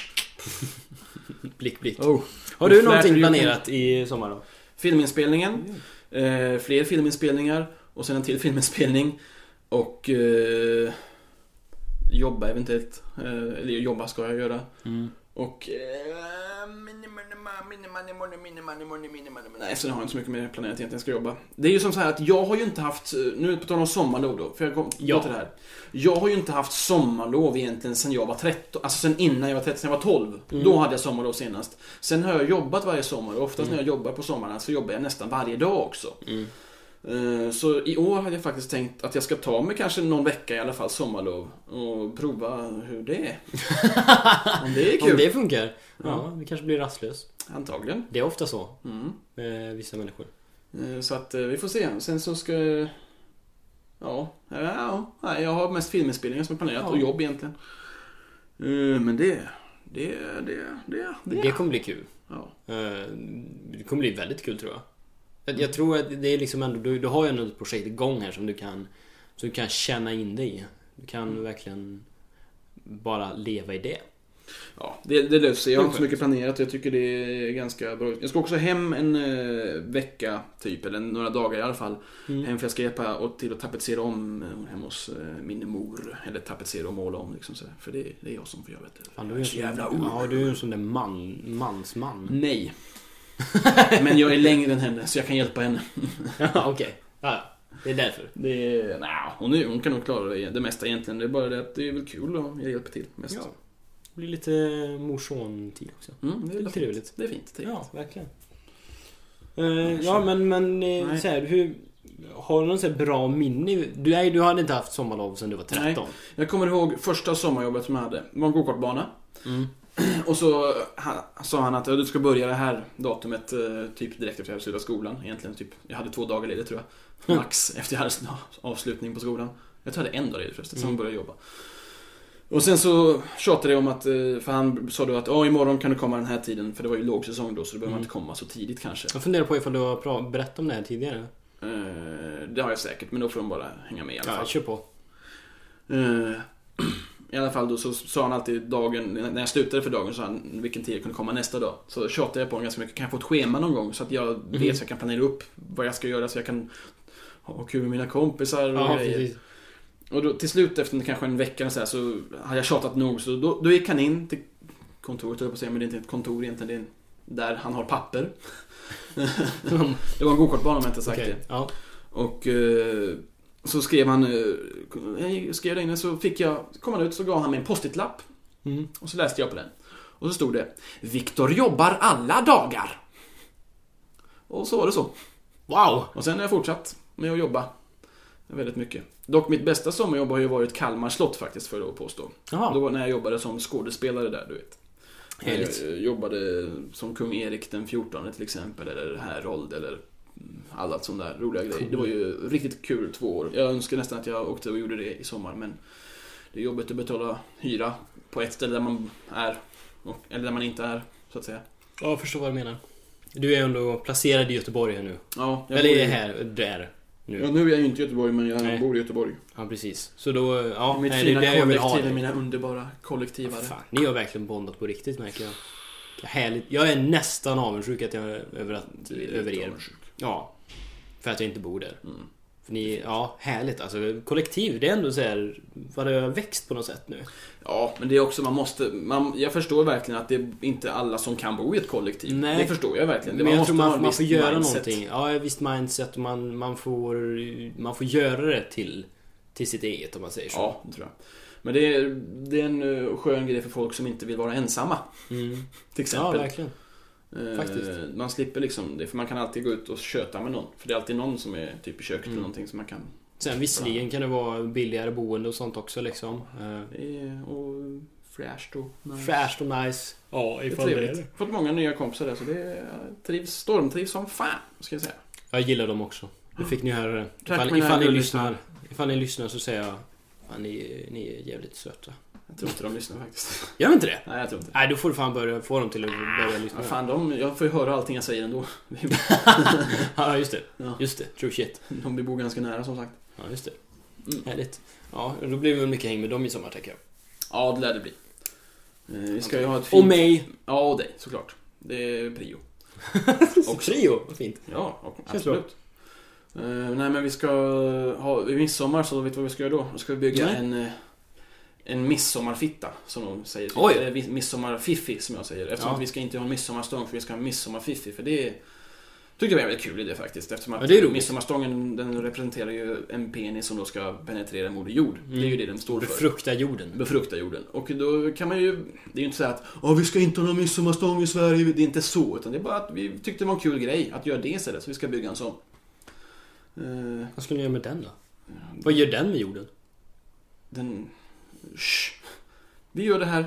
[laughs] Blick, blick.
Oh.
Har du
Flashar
någonting
ju-
planerat i sommar då?
Filminspelningen. Eh, fler filminspelningar och sen en till [laughs] filminspelning. Och eh, jobba eventuellt. Eh, eller jobba ska jag göra.
Mm.
Och... Eh, minimum, minimum, minimum, minimum, minimum. Nej, sen har jag inte så mycket mer planerat egentligen. Jag ska jobba. Det är ju som så här att jag har ju inte haft... eh, Nu på tal om sommarlov då, för jag kom
Ja.
ja. till det här. Jag har ju inte haft sommarlov egentligen sen jag var 13. Alltså sen innan jag var 13, sen jag var 12.
Mm.
Då hade jag sommarlov senast. Sen har jag jobbat varje sommar och oftast
Mm.
när jag jobbar på sommarna så jobbar jag nästan varje dag också.
Mm.
Eh, Så i år hade jag faktiskt tänkt att jag ska ta mig kanske någon vecka i alla fall sommarlov och prova hur det
[laughs]
är. Om det är
Om
kul.
det funkar? Ja,
Ja.
du kanske blir rastlös.
Antagligen.
Det är ofta så
Mm.
med vissa människor.
Eh, Så att eh, vi får se. Sen så ska... Ja, eh, ja, ja. Nej, jag har mest filminspelningar som är planerat
Ja.
och jobb egentligen. Eh, Men det... Det, det, det, det.
Det kommer bli kul.
Ja.
Eh, Det kommer bli väldigt kul tror jag. Jag, jag tror att det är liksom ändå, du, du har ju ändå ett projekt igång här som du kan, som du kan känna in dig i. Du kan verkligen bara leva i det.
Ja, det, det löser sig. Jag har
Det är
inte så mycket planerat. Jag tycker det är ganska bra. Jag ska också hem en eh, vecka, typ. Eller några dagar i alla fall.
Mm.
Hem för jag ska hjälpa och till att tapetsera om eh, hemma hos eh, min mor. Eller tapetsera och måla om liksom. Så. här. För det, det är jag som får göra det.
Fan, du är
Jag är
en
så
sån,
jävla
ja, du är en sån där man, mansman.
Nej. Men jag är längre än henne, så jag kan hjälpa henne.
Okej, [laughs] ja, det är därför.
Det är, nah, hon, är, hon kan nog klara det, det mesta egentligen. Det är bara det att det är väl kul om jag hjälper till mest.
Ja. Det blir lite morson-tid också.
Mm,
Det är
fint.
trevligt.
Det är fint. Det är
Ja, verkligen. Eh, ja, men, men eh,
Nej.
så här, hur, har du någon så här bra minne? Du, nej, du hade inte haft sommarlov sedan du var 13.
Jag kommer ihåg första sommarjobbet som jag hade. Det var en gokartbana. [clears throat]
Mm.
Och så ha- sa han att "Ja, du ska börja det här datumet eh, typ direkt efter jag hade slutat skolan. Egentligen typ, jag hade två dagar ledigt tror jag. Max
Mm.
efter jag hade sn- avslutning på skolan. Jag tror jag hade en dag ledigt förresten, sen
Mm.
började jag jobba. Och sen så tjatade jag om att, eh, för han sa då att ja imorgon kan du komma den här tiden. För det var ju lågsäsong då så då behöver man
Mm.
inte komma så tidigt kanske.
Jag funderar på ifall du har pra- berättat om det här tidigare.
Eh, Det har jag säkert, men då får de bara hänga med i alla fall.
Ja, kör på.
Eh, I alla fall då så sa han alltid dagen, när jag slutade för dagen, så sa han vilken tid jag kunde komma nästa dag. Så tjatade jag på honom ganska mycket. Kan jag få ett schema någon gång? Så att jag
Mm.
vet så jag kan planera upp vad jag ska göra så jag kan ha kul med mina kompisar och
Ja,
grejer. [laughs]
precis.
Och då, till slut efter kanske en vecka eller så, här, så hade jag tjatat nog så då, då gick han in till kontoret, höll jag på att säga, men det är inte ett kontor egentligen. Det är en- där han har papper. det var en gokartbana om jag inte sagt det.
Okej, ja.
Och eh, så skrev han, eh, jag skrev där inne så fick jag, så kom han ut så gav han mig en post-it-lapp
Mm.
och så läste jag på den. Och så stod det Viktor jobbar alla dagar. Och så var det så.
Wow!
Och sen har jag fortsatt med att jobba väldigt mycket. Dock mitt bästa sommarjobb har ju varit Kalmar slott faktiskt för att påstå. Då
Jaha.
var när jag jobbade som skådespelare där, du vet.
Härligt.
Jag eh, jobbade som kung Erik den 14 till exempel, eller Herold, eller mm, alla sådana där roliga grejer. Det var ju riktigt kul två år. Jag önskar nästan att jag åkte och gjorde det i sommar, men det är jobbigt att betala hyra på ett ställe där man är, och- eller där man inte är, så att säga.
Ja, jag förstår vad du menar. Du är ändå placerad i Göteborg här nu.
Ja, jag
Eller
bor i-
är här, där.
Ja,
Nu.
nu är jag ju inte i Göteborg, men jag
Nej.
bor i Göteborg.
Ja, precis. Så då, ja.
Mitt
nej, det är
fina
där jag vill ha
kollektiv,
dig.
mina underbara kollektivare.
Fan, ni har verkligen bondat på riktigt märker jag. Vilka Härligt. Jag är nästan avundsjuk att jag, över, att,
Du är lite
över er.
avundsjuk.
Ja. För att jag inte bor där.
Mm.
För ni, ja, härligt. Alltså kollektiv, det är ändå så här, vad det har växt på något sätt nu.
Ja, men det är också, man måste, man, jag förstår verkligen att det är inte alla som kan bo i ett kollektiv.
Nej.
Det förstår jag verkligen.
Men jag
måste
tror
ha en
man, man
viss
får göra
mindset.
någonting. Ja, ett visst mindset. och Man, man, får, man får göra det till, till sitt eget om man säger så.
Ja, det tror jag. Men det är, det är en eh, skön grej för folk som inte vill vara ensamma.
mm.
Till
ja
exempel.
verkligen.
Eh,
faktiskt.
Man slipper liksom det, för man kan alltid gå ut och köta med någon. För det är alltid någon som är typ i köket
Mm.
eller någonting som man kan...
Sen visserligen kan det vara billigare boende och sånt också liksom. Eh,
Det är- Och fräscht och...
Fräscht och nice. Ja,
Det är trevligt. Fått många nya kompisar där, så det är, jag trivs, stormtrivs som fan, ska jag säga.
Jag gillar dem också. Det fick ni höra det.
Tack,
ifall,
mina
ifall, ni
gulllyssnare.
lyssnar, ifall ni lyssnar så säger jag Fan, ni, ni är jävligt söta.
Jag tror inte de lyssnar faktiskt. [laughs]
Gör vi inte det?
Nej, jag tror inte
Nej, då får du fan börja få dem till att börja lyssna.
Ja, Ah, fan, de, jag får ju höra allting jag säger ändå.
[laughs]
[laughs]
Ja, just det.
Ja.
Just det. True shit.
De vi bor ganska nära som sagt.
Ja, just det.
Mm.
Härligt. Ja, då blir det väl mycket häng med dem i sommar, tänker jag.
Ja, det lär det bli. Eh, Vi ska ju ha ett fint...
Och mig.
Ja, och dig såklart. Det är [laughs] prio.
Och trio. Vad fint.
Ja, och,
Känns
absolut. Eh, nej, men vi ska eh, ha... I midsommar så vet vi vad vi ska göra då. Då ska vi bygga
Nej.
en... eh, En midsommarfitta, som de säger.
Oj.
Eller vi- midsommarfiffi, som jag säger. Eftersom
Ja.
att vi ska inte ha en midsommarstång, för vi ska ha en midsommarfiffi. För det är... Tyckte jag var en väldigt kul idé faktiskt. Eftersom att
Ja, det är roligt.
midsommarstången, den representerar ju en penis som då ska penetrera Moder Jord. Det är
Mm.
ju det den står för.
Befrukta jorden.
befrukta jorden. Och då kan man ju, det är ju inte så här att "Ja, vi ska inte ha någon midsommarstång i Sverige, det är inte så. Utan det är bara att vi tyckte det var en kul grej att göra det istället, så vi ska bygga en sån. Eh,
Vad skulle ni göra med den då? Vad gör den med jorden? [laughs]
den... Shh. Vi gör det här.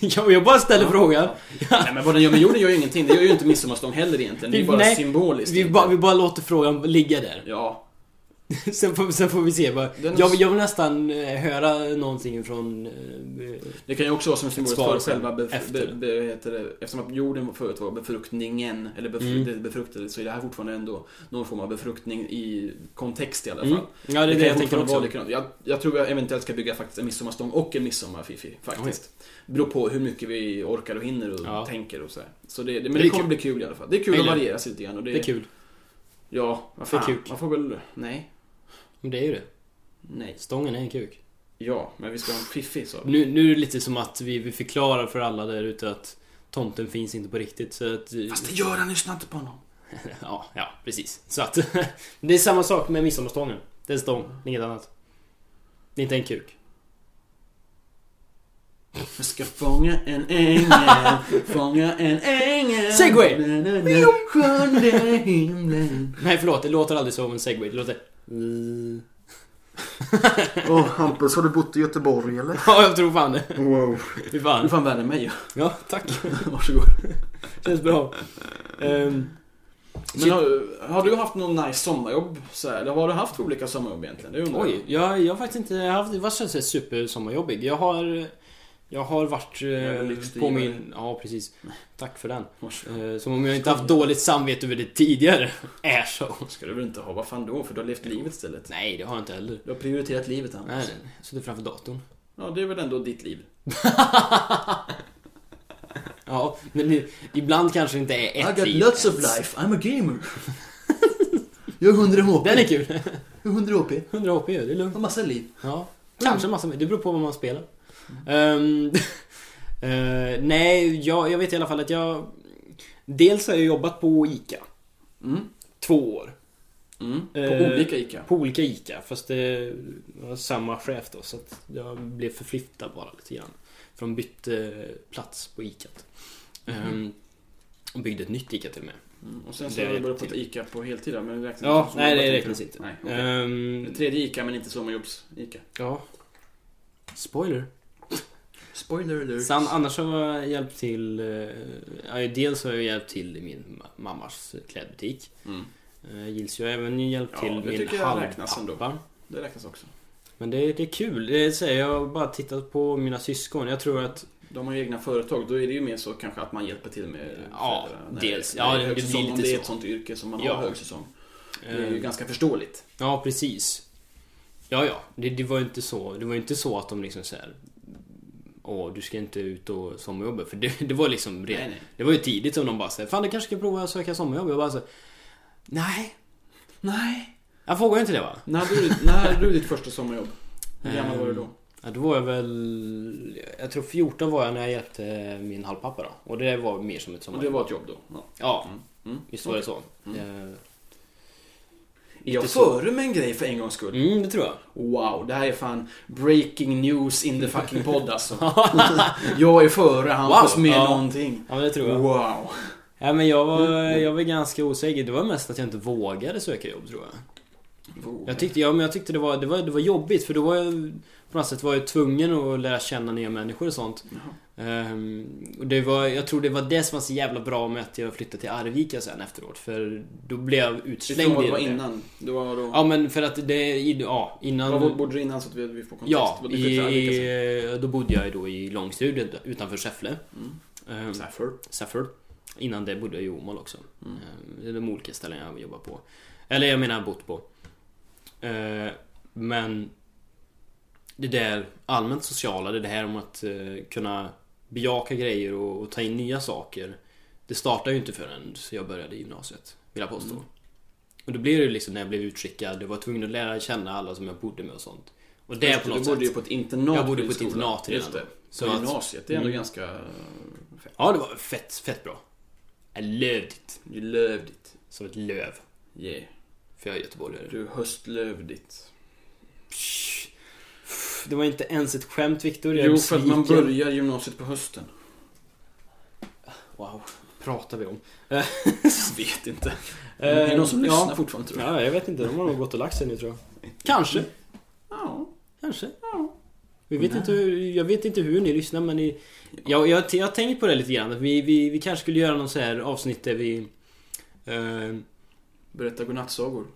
jag, jag bara ställer frågan.
[laughs] Nej men vad den gör med jorden gör ju ingenting, det gör ju inte midsommarstång heller egentligen. Det är ju bara
Nej,
symboliskt.
Vi, bara- vi bara låter frågan ligga där.
Ja.
[laughs] sen, får, sen får vi se. Bara,
Den är-
jag, jag vill nästan eh, höra någonting från... eh,
Det kan ju också vara som symboliskt för
Ett svar
själva bef-
efter.
be- be- heter det, Eftersom att jorden förut var befruktningen, eller befru-
Mm.
det befruktade, så är det här fortfarande ändå någon form av befruktning i kontext i alla fall.
Mm. Ja, det är det, jag tänker också.
Vara jag, jag tror jag eventuellt ska bygga faktiskt en midsommarstång och en midsommarfifi faktiskt. Beror på hur mycket vi orkar och hinner och
Ja.
tänker och så här. Så det, det, men
Det
det,
är
kommer
kul.
bli kul i alla fall. Det är kul
Jag
att
gillar det.
variera sig lite grann. Och det,
Det är kul.
Ja, vad
Det är
fan.
kul.
Man får väl... Nej.
Men det är ju det.
Nej.
Stången är en kuk.
Ja, men vi ska ha en fiffi så.
Nu, nu är det lite som att vi, vi förklarar för alla där ute att tomten finns inte på riktigt. Så att, eh,
Fast det gör han, lyssna inte på honom.
[laughs] ja, ja, precis. Så att... [laughs] det är samma sak med midsommarstången. Det är en stång, inget annat. Det är inte en kuk.
Jag ska fånga en ängel, fånga en ängel.
Segway!
Na, na, na, Sjunde himlen.
Nej, förlåt. Det låter aldrig så om en segway. Det låter... [laughs]
Åh, Hampus, har du bott i Göteborg eller?
Ja, jag tror fan det.
Wow.
Fy
Du är
fan.
fan värre än mig ju.
Ja, tack.
[laughs] Varsågod.
Känns bra. Ehm,
Men har, har du haft någon nice sommarjobb? Så här, eller vad har du haft för olika sommarjobb egentligen? Det undrar
oj, jag, jag har faktiskt inte haft... Det var så att säga supersommarjobbig. Jag har... Jag har varit eh,
Jävla lyxdrivare.
på min... Ja, precis. Tack för den.
jag.
Eh, som om jag inte haft dåligt samvete över det tidigare. [laughs] Är så.
ska du väl inte ha? Vad fan då? För du har levt livet istället.
Nej, det har jag inte heller.
Du har prioriterat livet
Nej,
Hampus.
jag sitter framför datorn.
Ja, det är väl ändå ditt liv.
Ja, men det, ibland kanske det inte är ett liv ens.
life, I'm a
[laughs]
gamer. jag har 100 HP.
Den är kul. [laughs]
Jag har 100 HP.
100 HP, det är lugnt.
har massa liv.
Ja, kanske en massa mer. Det beror på vad man spelar. Ehm, [laughs] eh, nej, jag, jag vet i alla fall att jag... Dels har jag jobbat på ICA.
Mm.
Två år.
Mm. På
Eh,
olika ICA.
På olika ICA. Fast det var samma chef då. Så att jag blev förflyttad bara lite grann. För de bytte plats på ICA.
Mhm.
Ehm, och byggde ett nytt ICA till och med.
Mm. Och sen så
Det
har du
vet
börjat på
jag.
ett ICA på heltid då, men det räknas
Ja,
inte som
nej det
sommarjobb,
räknas
tänker
inte.
jag. Nej, okej.
Ehm,
Det tredje ICA men inte sommarjobbs-ICA.
ja. Spoiler.
Spoiler alert.
Sen, annars har jag hjälpt till... Eh, ja, dels har jag hjälpt till i min ma- mammas klädbutik.
Mm.
Eh, gills jag har även hjälpt
Ja,
till
det
min
tycker jag räknas ändå.
halvpappa.
Det räknas också.
Men det, det är kul. Det är, så här, jag har bara tittat på mina syskon. Jag tror att...
De har ju egna företag, då är det ju mer så kanske att man hjälper till med
Ja,
föräldrarna när
dels.
när
Ja,
är
det blir
högsäsong,
lite
Om det är
så.
ett sånt yrke som man
Ja.
har högsäsong. Det är ju
Eh,
ganska förståeligt.
ja, precis. Ja, ja. Det, det var ju inte så. Det var ju inte så att de liksom så här... Åh, du ska inte ut och sommarjobba. För det, det var liksom redan...
Nej, nej.
Det var ju tidigt som de bara säger Fan, du kanske ska prova att söka sommarjobb. Jag bara så här, Nej.
Nej.
Jag frågar ju inte det va?
När hade du, när hade du ditt första sommarjobb? Hur gammal
Ehm,
var du då?
Ja, då var jag väl... Jag tror 14 var jag när jag hjälpte min halvpappa då. Och det var mer som ett
Och det
sommarjobb.
var ett jobb då? Ja.
Ja,
Mm. Mm.
visst var det så. Eh,
Är jag
Lite så.
före med en grej för en gångs skull?
Mm, det tror jag.
Wow, det här är fan breaking news in the fucking podd alltså.
[laughs]
jag är före Hampus
Wow.
med
Ja.
någonting.
Ja, men det tror
Mm.
jag.
Wow.
Ja, men jag var,
Mm.
jag var ganska osäker. Det var mest att jag inte vågade söka jobb tror jag. Jag tyckte, ja, men jag tyckte det, var, det, var, det var jobbigt för då var jag på något sätt var jag tvungen att lära känna nya människor och sånt.
Jaha.
Ehm, och det var, jag tror det var det som var så jävla bra med att jag flyttade till Arvika sen efteråt. För då blev jag
Utifrån
utslängd
vad
i
det var
det.
innan. Det var då...
Ja men för att det, i- ja innan...
Vad bodde du innan så att vi, vi får kontext?
Ja,
Vad du
i,
flyttade till Arvika sen.
i, då bodde jag ju då i Långstudio utanför Säffle.
Mm.
Ehm,
Safford.
Säffle. Innan det bodde jag i Åmål också.
Mm.
Ehm, det är de olika ställen jag jobbar på. Eller jag menar bott på. Ehm, men det där allmänt sociala, det här om att eh, kunna bejaka grejer och, och ta in nya saker. Det startade ju inte förrän jag började i gymnasiet, vill jag
Mm.
påstå. Och då blev det ju liksom när jag blev utskickad, jag var tvungen att lära känna alla som jag bodde med och sånt. Och det är
Just
på något
Du bodde ju
sätt.
på ett internat.
Jag bodde
i
på ett
skolan.
internat redan
Just det.
då.
Så
Så
på
att-
gymnasiet. Det är ändå
Mm.
ganska... fett.
Ja, det var fett, fett bra. I loved it.
You loved it.
Som ett löv.
Yeah.
För jag är göteborgare.
Du höstlövde it.
Psh. Det var inte ens ett skämt Viktor. Jag är
Jo, för att man
besviken.
börjar gymnasiet på hösten. [laughs]
Wow, pratar vi om.
Jag vet inte. Det är någon som
Eh, ja.
lyssnar fortfarande tror jag.
Ja, jag vet inte. De har nog gått och lagt sig nu tror jag. Kanske.
Ja.
Kanske. Vi vet
Nej.
inte hur, jag vet inte hur ni lyssnar men ni, jag, jag, jag har tänkt på det lite grann. att Vi, vi, vi kanske skulle göra någon så här avsnitt där vi... eh, [laughs]
Berätta godnattsagor.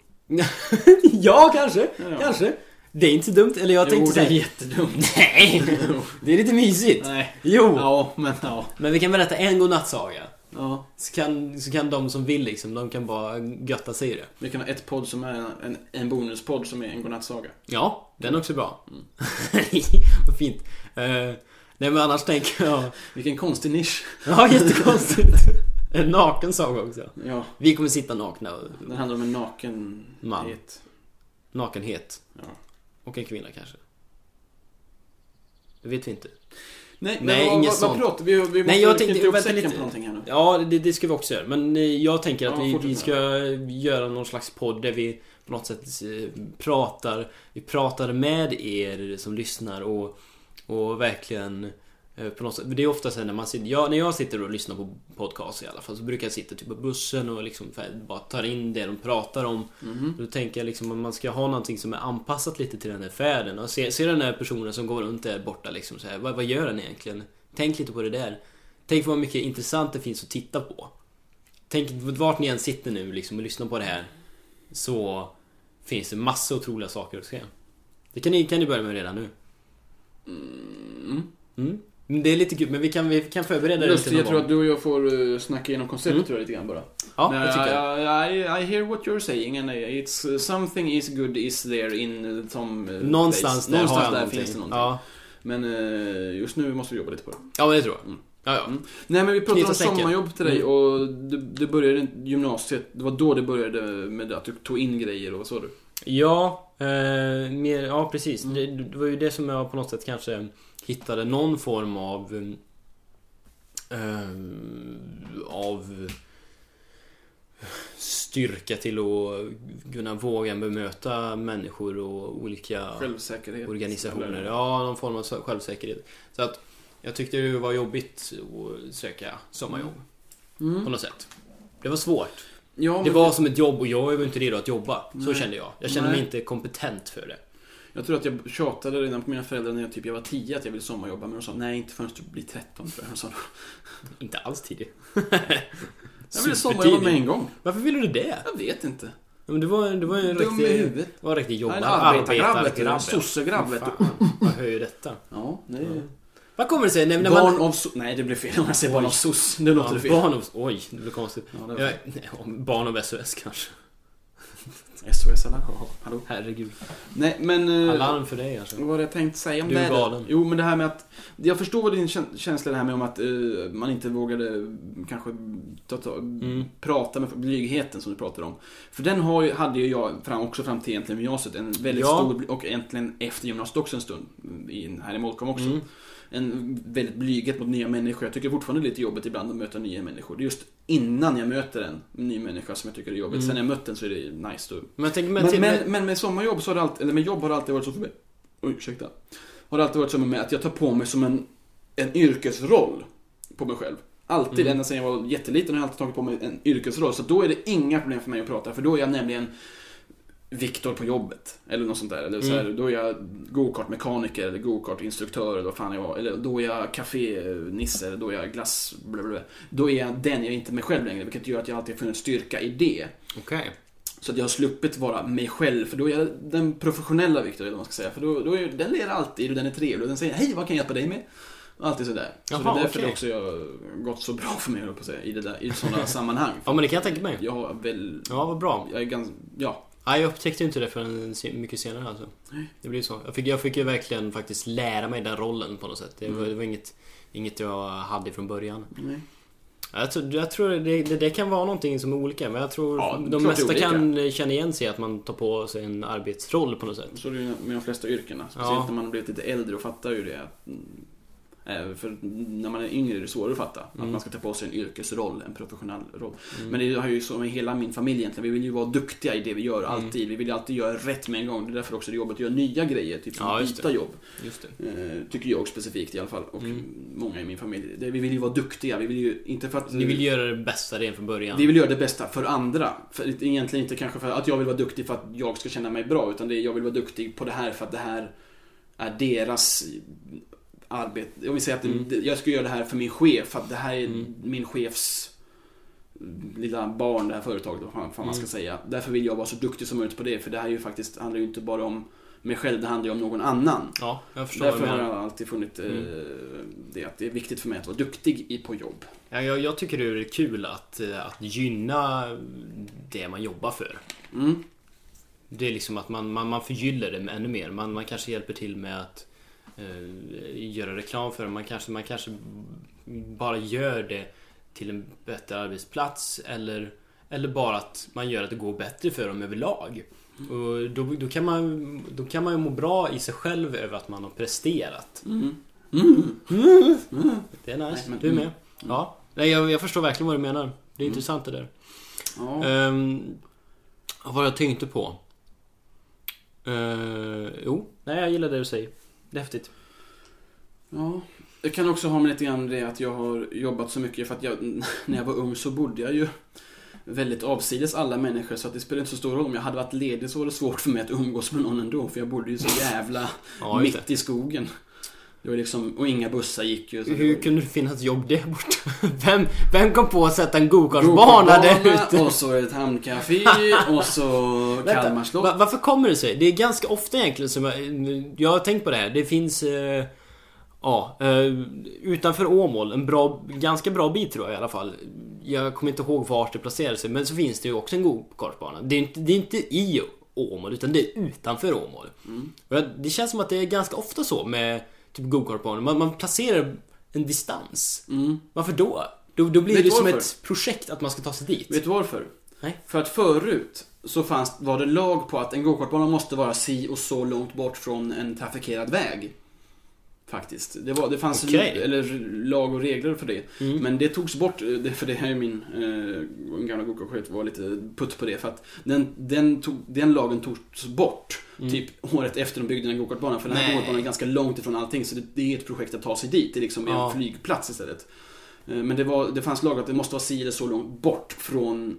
ja, kanske.
Ja, ja.
Kanske. Det är inte så dumt. Eller jag
jo,
tänkte
det är
såhär...
jättedumt.
Nej! [laughs] Det är lite mysigt.
Nej.
Jo!
Ja, men ja.
Men vi kan berätta en godnattsaga.
ja.
Så kan, så kan de som vill liksom, de kan bara götta sig i det.
Vi kan ha ett podd som är en, en bonuspodd som är en godnattsaga.
Ja, den är också bra. Mm. [laughs] Vad fint. Eh, nej men annars tänker jag...
Vilken konstig nisch.
Ja, [laughs] jättekonstigt. En naken saga också.
Ja,
Vi kommer sitta nakna.
den handlar om en naken...
Man.
het.
Nakenhet.
Ja.
Och en kvinna kanske. Det vet vi inte.
Nej, men
Nej,
vad,
inget
vad,
sånt.
vad pratar vi? Vi måste
Nej, jag
knyta
tänkte...
ihop
Vänta
säcken
lite.
på någonting här nu.
Ja, det, det ska vi också göra. Men eh, jag tänker att
Ja,
vi,
fortsätt
vi ska göra någon slags podd där vi på något sätt eh, pratar. Vi pratar med er som lyssnar och, och verkligen eh, på något sätt. Det är ofta så här när man sitter, ja, när jag sitter och lyssnar på podcast i alla fall så brukar jag sitta typ på bussen och liksom bara tar in det de pratar om.
Mhm.
Då tänker jag liksom att man ska ha någonting som är anpassat lite till den här färden. Och se, se den här personen som går runt där borta liksom så här, vad, vad gör den egentligen? Tänk lite på det där. Tänk vad mycket intressant det finns att titta på. Tänk vart ni än sitter nu liksom och lyssnar på det här. Så finns det massa otroliga saker att se. Det kan ni, kan ni börja med redan nu.
Mm.
Mm. Men Det är lite kul, men vi kan, vi kan förbereda det
Lustigt,
lite
jag
någon
tror att
gång.
du och jag får uh, snacka igenom konceptet
Mm.
tror jag lite grann bara.
Ja,
Men
det tycker jag.
I, I, I hear what you're saying and I- it's uh, something is good is there in uh, some uh,
Någonstans
place.
där,
Någonstans
har jag
där
någonting.
finns det någonting.
Ja,
Men eh, just nu måste vi jobba lite på det.
ja men det tror jag.
Mm.
Ja, ja.
Mm. Nej men vi pratade
Knyta
om
säcken.
sommarjobb till dig
Mm.
och du, du började i gymnasiet. Det var då det började med att du tog in grejer och vad sa du?
Ja, eh, mer, ja precis.
Mm.
Det, det var ju det som jag på något sätt kanske hittade någon form av... eh, av styrka till att kunna våga bemöta människor och olika
Självsäkerhet.
organisationer.
Eller-
Ja, någon form av självsäkerhet. Så att jag tyckte det var jobbigt att söka sommarjobb på
Mm.
något sätt. Det var svårt.
Ja,
Det
men
var som ett jobb och jag var inte redo att jobba. Så
Nej.
kände jag. Jag kände
Nej.
mig inte kompetent för det.
Jag tror att jag tjatade redan på mina föräldrar när jag, typ, jag var 10 att jag ville sommarjobba. Men de sa nej, inte förrän du blir 13 tror jag. De sa,
Inte alls
[laughs]
tidig.
jag ville sommarjobba med en gång.
Varför ville du det?
Jag vet inte.
Men det var, det var ju en
Dum i
riktig...
huvudet.
Det var en riktig
Nej,
jobbare.
Arbetargrabb vet du.
arbetargrabb, ja.
Sossegrabb vet du.
Fan, vad höjer detta?
Ja, det är...
Vad kommer det sig när, när
Barn
man...
av soc... Nej, det blev fel om jag säger barn av soc. Nu låter det
Ja,
fel.
barn av... Oj, det blev konstigt.
Ja,
Ja,
det var fel.
nej, om barn av SOS kanske.
SOS Alarm. Hallå?
Herregud.
Nej, men... eh,
Alarm för dig alltså.
Vad var det jag tänkte säga om
Du är
det? här?
galen.
Jo, men det här med att... Jag förstår din kän- känsla det här med om att eh, man inte vågade kanske ta, ta,
Mm.
prata med blygheten som du pratade om. För den har ju, hade ju jag fram, också fram till egentligen gymnasiet en väldigt
Ja.
stor, bly- och egentligen efter gymnasiet också en stund, i, här i Molkom också.
Mm.
En väldigt blyghet mot nya människor. Jag tycker fortfarande det är lite jobbigt ibland att möta nya människor. Det är just innan jag möter en ny människa som jag tycker är jobbigt.
Mm.
Sen när jag mött den så är det nice. Då
Men jag tänker... Men,
men,
till-
men, men med sommarjobb så har det alltid, eller med jobb har det alltid varit så för mig. Oj, ursäkta. Har det alltid varit så med mig att jag tar på mig som en, en yrkesroll på mig själv. Alltid,
Mm.
ända sedan jag var jätteliten har jag alltid tagit på mig en yrkesroll. Så då är det inga problem för mig att prata, för då är jag nämligen Viktor på jobbet. Eller något sånt där. Eller så här, Då är jag gokartmekaniker eller gokartinstruktör eller vad fan jag var. Eller då är jag kafénisse eller då är jag glass... Blablabla. Då är jag den, jag är inte mig själv längre. Vilket gör att jag alltid har funnit styrka i det.
Okej.
Så att jag har sluppit vara mig själv, för då är jag den professionella Viktor, eller vad man ska säga. För då, då är den ler alltid och den är trevlig och den säger hej, vad kan jag hjälpa dig med? Och alltid sådär. Så
Jaha,
det är därför
okej.
det också har gått så bra för mig, höll jag på att säga, i, det där,
[laughs]
i sådana sammanhang.
Ja, men det kan jag tänka mig.
Jag har väl...
Ja, vad bra.
Jag är ganska... Ja.
Ja, jag upptäckte ju inte det förrän se- mycket senare alltså. Det blir så. Jag fick, jag fick ju verkligen faktiskt lära mig den rollen på något sätt. Det var,
Mm.
det var inget, inget jag hade från början.
Nej.
Ja, Jag tror, jag tror det, det, det kan vara någonting som är olika. Men jag tror
Ja, det är
de
klart det är
mesta
olika.
kan känna igen sig att man tar på sig en arbetsroll på något sätt.
Så är det ju med de flesta yrkena. Speciellt
Ja.
när man har blivit lite äldre och fattar ju det. Att, mm, eh, för när man är yngre är det svårare att fatta.
Mm.
Att man ska ta på sig en yrkesroll, en professionell roll.
Mm.
Men det har ju så med hela min familj egentligen. Vi vill ju vara duktiga i det vi gör
Mm.
alltid. Vi vill ju alltid göra rätt med en gång. Det är därför också det är jobbigt att göra nya grejer. Typ
Ja,
ja,
just
byta jobb.
Just det.
Eh, tycker jag specifikt i alla fall. Och
Mm.
många i min familj. Det, vi vill ju vara duktiga. Vi vill ju inte för att...
Ni vill göra det bästa redan från början.
Vi vill göra det bästa för andra. För, egentligen inte kanske för att jag vill vara duktig för att jag ska känna mig bra. Utan det är, jag vill vara duktig på det här för att det här är deras arbete. Om vi säger att det-
Mm.
jag ska göra det här för min chef. För att det här är
Mm.
min chefs lilla barn, det här företaget, vad fan fan man ska
Mm.
säga. Därför vill jag vara så duktig som möjligt på det, för det här är ju faktiskt, handlar ju inte bara om mig själv, det handlar ju om någon annan.
Ja, jag förstår vad
Därför
du
har
menar. Mm.
jag alltid funnit eh, det, att det är viktigt för mig att vara duktig i, på jobb.
Ja, jag, jag tycker det är kul att, eh, att gynna det man jobbar för.
Mm.
Det är liksom att man, man, man förgyller det med ännu mer. Man, man kanske hjälper till med att eh, göra reklam för det. Man kanske, man kanske bara gör det till en bättre arbetsplats eller, eller bara att man gör att det går bättre för dem överlag. Och då, då, kan man, då kan man ju må bra i sig själv över att man har presterat.
Mm. Mm.
Det är nice.
Nej, men-
du är med?
mm.
Ja. Nej, jag, jag förstår verkligen vad du menar. Det är intressant det där.
Ja.
Ehm, vad jag tänkte på? Eh, jo, nej jag gillar det du säger. Det är häftigt.
Ja. Det kan också ha med lite grann det att jag har jobbat så mycket för att jag, [laughs] när jag var ung så bodde jag ju väldigt avsides alla människor så att det spelar inte så stor roll om jag hade varit ledig så var det svårt för mig att umgås med någon ändå för jag bodde ju så jävla
[laughs] Ja, just
mitt i skogen. Det var liksom, och inga bussar gick ju. så
det.
det
Hur
var-
kunde det finnas jobb där borta? [laughs] Vem, vem kom på att sätta en gokartbana där ute?
Och så ett hamncafé och så
[laughs] Vänta,
Kalmar slott.
va- varför kommer det sig? Det är ganska ofta egentligen som jag, jag har tänkt på det här. Det finns... eh, Ja, eh, utanför Åmål, en bra, ganska bra bit tror jag i alla fall. Jag kommer inte ihåg vart det placerade sig, men så finns det ju också en gokartbana. Det är inte, det är inte i Åmål, utan det är utanför Åmål.
Mm.
Och jag- Det känns som att det är ganska ofta så med typ gokartbanor. Man, man placerar en distans.
Mm.
Varför då? Då, då blir
Vet
det
du
som
varför?
ett projekt att man ska ta sig dit.
Vet du varför?
Nej.
För att förut så fanns, var det lag på att en gokartbana måste vara si och så långt bort från en trafikerad väg. Faktiskt. Det, var, det fanns
Okej.
eller, lag och regler för det.
Mm.
Men det togs bort, eh, det- för det här är min eh, min gamla gokartskytt var lite putt på det. För att den, den, tog, den lagen togs bort typ året efter de byggde den här gokartbanan. För den här
Mm. Nej.
gokartbanan är ganska långt ifrån allting så det, det är ett projekt att ta sig dit. Det är liksom
Ja.
en flygplats istället. Eh, Men det, var, det fanns lag att det måste vara si eller så långt bort från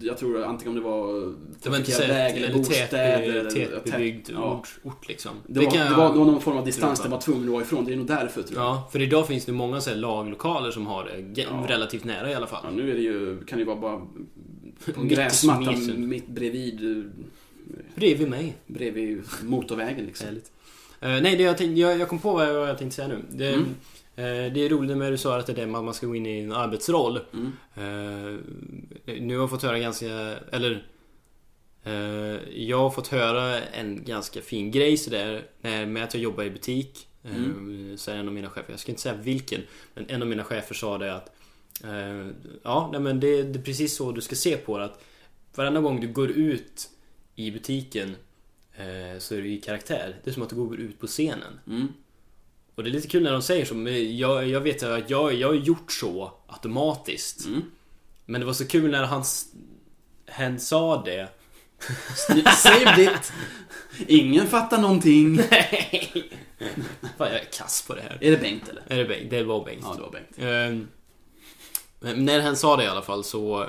jag tror antingen om det var
Det var inte
trafikerad
sett
väg eller bostäder.
eller
eller-
tätbebyggd
ja.
ort, ort liksom.
Det, var, det, var, det var någon form av distans
Europa.
den var tvungen att vara ifrån. Det är nog därför tror jag.
Ja, för idag finns det många så här laglokaler som har det ge-
Ja.
relativt nära i alla
Ja,
fall.
nu är det ju, kan det ju vara bara på typ. en
Mitt i
gräsmatta
smeten.
mitt bredvid, eh,
Bredvid mig.
bredvid motorvägen liksom.
Härligt. Eh, nej, det jag, tänkte, jag, jag kom på vad jag, vad jag tänkte säga nu. Det,
Mm.
eh, det är roligt med det du sa att det är det man man ska gå in i en arbetsroll.
Mm.
Eh, nu har jag fått höra ganska, eller eh, Jag har fått höra en ganska fin grej sådär när- Med att jag jobbar i butik eh, Så är en av mina chefer, jag ska inte säga vilken Men en av mina chefer sa det att eh, Ja, nej men det, det är precis så du ska se på det att Varenda gång du går ut i butiken eh, Så är du i karaktär Det är som att du går ut på scenen
Mm.
och det är lite kul när de säger så, men jag, jag vet att jag, jag har gjort så automatiskt.
Mm.
Men det var så kul när han, s- hen sa det.
Saved it! Ingen fattar någonting.
Fan, jag är kass på det här.
Är det Bengt eller?
Är det, Bengt? det var Bengt.
Ja, det var Bengt.
Ehm, men när han sa det i alla fall så...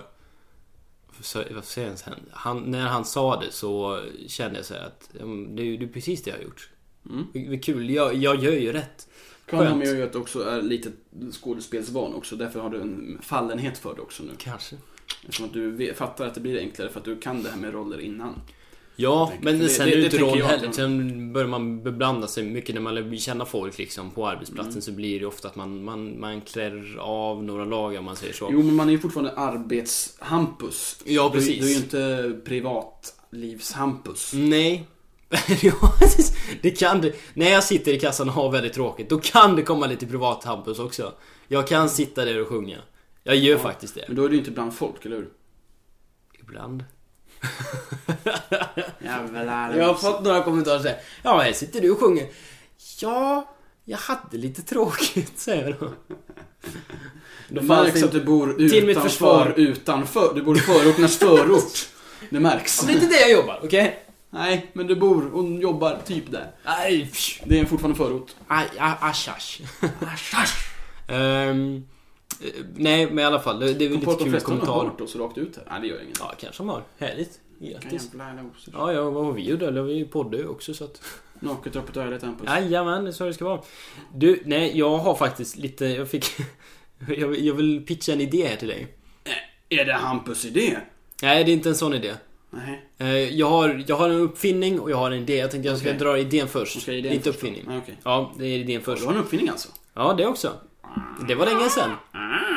så vad säger jag ens hen? han? När han sa det så kände jag så här att ja, men det, är ju- det är precis det jag har gjort.
Mm.
Vad vad kul, jag, jag gör ju rätt.
Kan ha
Skönt.
med att göra att du också är lite skådespelsvan också. Därför har du en fallenhet för det också nu.
Kanske.
Eftersom att du vet, fattar att det blir enklare för att du kan det här med roller innan.
Ja,
tänker.
men
Det-
sen
det-
är det
det
inte
tänker
roll
jag.
heller. Sen börjar man beblanda sig mycket när man lär känna folk liksom på arbetsplatsen
Mm.
så blir det ofta att man, man, man klär av några lager om man säger så.
Jo, men man är ju fortfarande arbetshampus.
ja,
Du,
precis.
du är ju inte privatlivshampus.
[laughs] Nej. Ja, det kan det. När jag sitter i kassan och har väldigt tråkigt, då kan det komma lite privat Hampus också. Jag kan sitta där och sjunga. Jag gör faktiskt det.
Men då är du ju inte bland folk, eller hur?
Ibland.
Jävlar.
Jag har fått några kommentarer såhär. Ja, här sitter du och sjunger. Ja, jag hade lite tråkigt, [laughs] säger de. liksom typ-
Det
Då fanns
märks
det
att
inte...
du bor utanför,
Till mitt försvar.
utanför. Du bor i förorternas förort. Det märks.
Det är inte det jag jobbar, okej?
Nej, men du bor och jobbar typ där.
Aj, psh.
Det är fortfarande förort.
aj, aj, asch, asch. Ehm, eh, nej, men i alla fall. Det, det är väl
Kom på
lite
att de
kul
flesta har
kommentar.
hört oss rakt ut här. Nej, det gör inget.
Ja, kanske de har. Härligt.
Vilka
Grattis.
jävla rosor.
Ja, ja, vad har vi gjort då? Vi poddar ju också så att...
Naket öppet örat Hampus.
Jajamän, det är så det ska vara. Du, [laughs] nej, jag har faktiskt lite... Jag fick... Jag, vill- jag vill pitcha en idé här till dig.
Är det Hampus idé?
Nej, det är inte en sån idé.
Nej.
Eh, Jag har, jag har en uppfinning och jag har en idé. Jag tänkte jag ska
Okej.
dra idén först.
Du ska ge idén
inte
först då.
uppfinningen.
Nej, okej.
Ja, det är idén först.
Du har en uppfinning alltså?
Ja, det också. Det var länge sedan.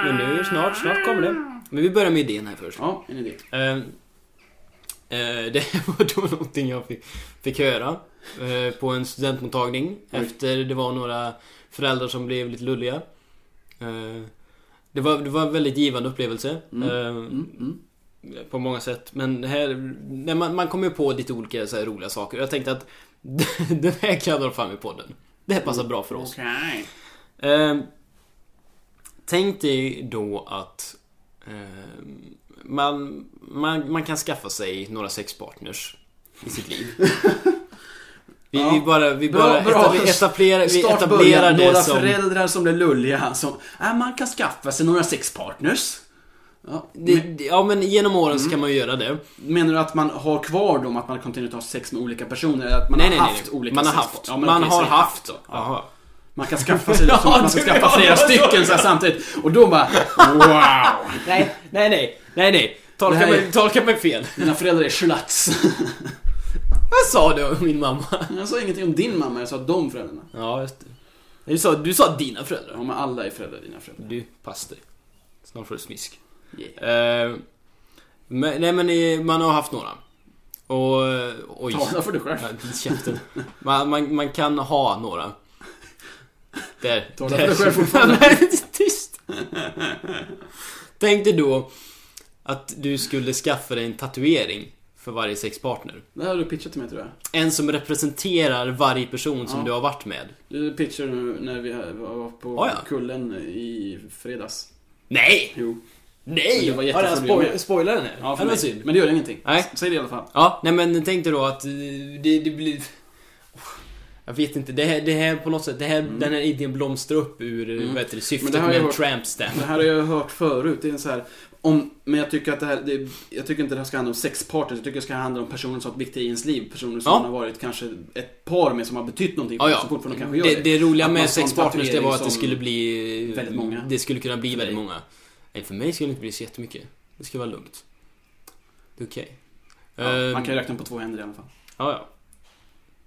Men nu snart, snart kommer det. Men vi börjar med idén här först.
Ja, en idé.
Eh, eh, det [laughs] var då någonting jag fick, fick höra eh, på en studentmottagning
Oj.
efter det var några föräldrar som blev lite lulliga. Eh, det, var, det var en väldigt givande upplevelse
Mm.
eh,
Mm, mm.
på många sätt. Men det här, när man, man kommer ju på lite olika så här roliga saker. Jag tänkte att [laughs] den här kan jag dra fram i podden. Det här passar bra för oss.
Okej.
Ehm, tänk dig då att ehm, man, man, man kan skaffa sig några sexpartners i sitt [laughs] liv. Vi,
Ja.
vi bara, vi
Bra,
bara
bra.
etablerar, etablerar, vi
Start
etablerar
början,
det
några
som...
föräldrar som blir lulliga som, äh, man kan skaffa sig några sexpartners. Ja.
Det, det- ja men genom åren så kan Mm. man ju göra det.
Menar du att man har kvar dem, att man kontinuerligt har sex med olika personer? Eller att man
nej,
har
nej,
haft
nej.
olika
man har
sexpar-
haft.
Ja, men
man
okej,
har
säg
haft.
då. Ja.
Jaha.
Man kan
[laughs]
skaffa sig,
Ja,
man kan
du
skaffa
menar
flera
så.
stycken så här samtidigt. Och då bara, wow!
Nej, nej, nej. Nej, nej. Tolka,
Det här är-
mig, tolka mig fel.
Mina föräldrar är schlats.
Vad sa du om min mamma?
[laughs] Jag sa ingenting om din mamma, jag sa de föräldrarna.
Ja, just det. Du sa, du sa dina föräldrar.
Ja, men alla är föräldrar, dina föräldrar.
Du, pass dig. Snart får du smisk.
Yeah.
Eh, men, nej men eh, man har haft några. Och... eh, Oj.
Tala för dig själv.
Ja, käften. Man, man, man kan ha några. Där. där.
Tala för dig själv fortfarande.
[laughs] Nej, Tyst. Tänk dig då att du skulle skaffa dig en tatuering för varje sexpartner.
Det här har du pitchat till mig tror jag.
En som representerar varje person som
Ja.
du har varit med.
Du pitchade nu när vi var på
Ah, ja.
kullen i fredags.
Nej!
Jo. Men
Nej!
det var
Har jag
jätteproblem.
spoil- spoilat den här?
Ja, för
det var
mig.
synd.
Men det gör ingenting.
Nej.
S- Säg det i alla fall.
Ja, nej men tänk dig då att eh, det, det blir... Jag vet inte, det här, det här på något sätt, det här, den här idén blomstrar upp ur mm. vad heter det, syftet
Mm. Men det här har
med
jag
en
hört-
tramp stamp.
Det här har jag hört förut. Det är en så här, om, men jag tycker att det här, det, jag tycker inte det här ska handla om sexpartners. Jag tycker det ska handla om personer som har varit viktiga i ens liv. Personer som
Ja.
man har varit kanske ett par med som har betytt någonting.
Ja, ja.
Som fortfarande kanske gör
Det,
det.
det roliga
Att man
med
får en
sexpartners det var att det
tatuering
skulle
som-
bli... eh,
väldigt många. Mm.
Det skulle kunna bli väldigt
dig.
många. Nej, för mig skulle det inte bli så jättemycket. Det ska vara lugnt. Det är okej.
Ja,
Ehm,
man kan ju räkna på två händer i alla fall.
ja, ja.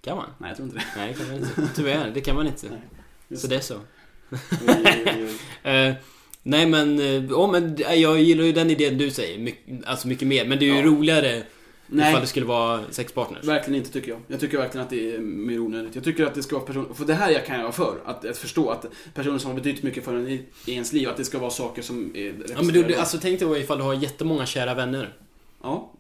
Kan man?
Nej, jag tror inte det.
Nej, det kan man inte. Tyvärr, det kan man inte.
Nej,
[laughs]
just
så
[laughs]
det är så.
Oj, oj, oj.
Eh, nej men, eh, oh, men eh, jag gillar ju den idén du säger, mycket, alltså mycket mer. Men det är ju
Ja.
roligare
Nej.
ifall det skulle vara sexpartners.
Verkligen inte tycker jag. Jag tycker verkligen att det är mer onödigt. Jag tycker att det ska vara personer, för det här jag kan jag vara för. Att, att förstå att personer som har betytt mycket för en i, i ens liv, att det ska vara saker som är
Ja, men du, du, alltså, tänk dig ifall du har jättemånga kära vänner.
ja.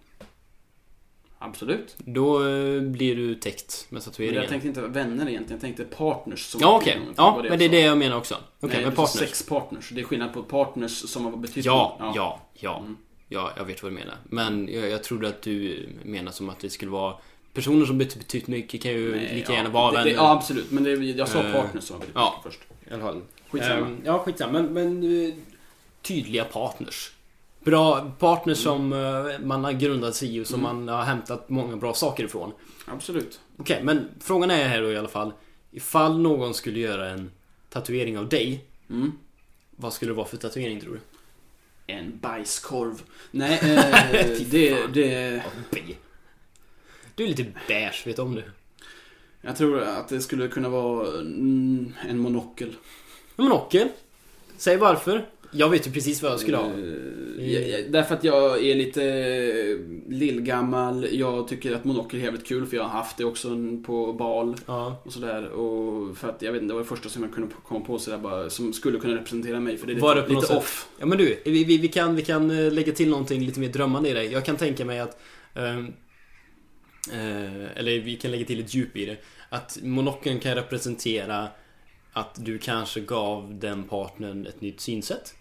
Absolut.
Då eh, blir du täckt med
Men jag
tatueringen.
tänkte inte vänner egentligen, jag tänkte partners. Som
Ja okej,
någonting.
ja,
var
men det är
jag
det
sa.
jag menar också. Okej,
Nej,
men
du sa
partners.
Sex partners. Det är skillnad på partners som har betytt
Ja, ja,
mycket.
ja. ja.
Mm.
jag vet vad du menar. Men jag, jag trodde att du menar som att det skulle vara personer som betytt betytt mycket kan ju
Nej,
lika
ja.
gärna vara
Det- det-
vänner.
Ja, absolut. Men det, jag sa
Eh,
partners som har betytt
ja.
mycket först.
I alla fall.
Skitsamma.
Ehm, ja, skitsamma. Men, men eh, tydliga partners. Bra partners som
Mm.
eh, man har grundat sig i och som man har hämtat många bra saker ifrån.
Absolut.
Okej, men frågan är här då i alla fall. Ifall någon skulle göra en tatuering av dig.
Mm.
Vad skulle det vara för tatuering tror du?
En bajskorv. Nej,
[laughs]
eh, det, det...
B. Du är lite beige, vet du om det?
Jag tror att det skulle kunna vara mm, en monokel.
Ja, Men Ockel. Säg varför. Jag vet ju precis vad jag skulle ha. Mm.
Eh, jag- jag- Därför att jag är lite eh, lillgammal. Jag tycker att monokel är jävligt kul för jag har haft det också en- på bal
Ja.
och sådär. Och för att jag vet inte, det var det första som jag kunde komma på sådär bara som skulle kunna representera mig. För det är lite,
Var det på något
lite
sätt?
off.
Ja men du, vi, vi, vi, kan, vi kan eh, lägga till någonting lite mer drömmande i det. Jag kan tänka mig att... ehm, eh, eller vi kan lägga till ett djup i det. Att monokeln kan representera att du kanske gav den partnern ett nytt synsätt.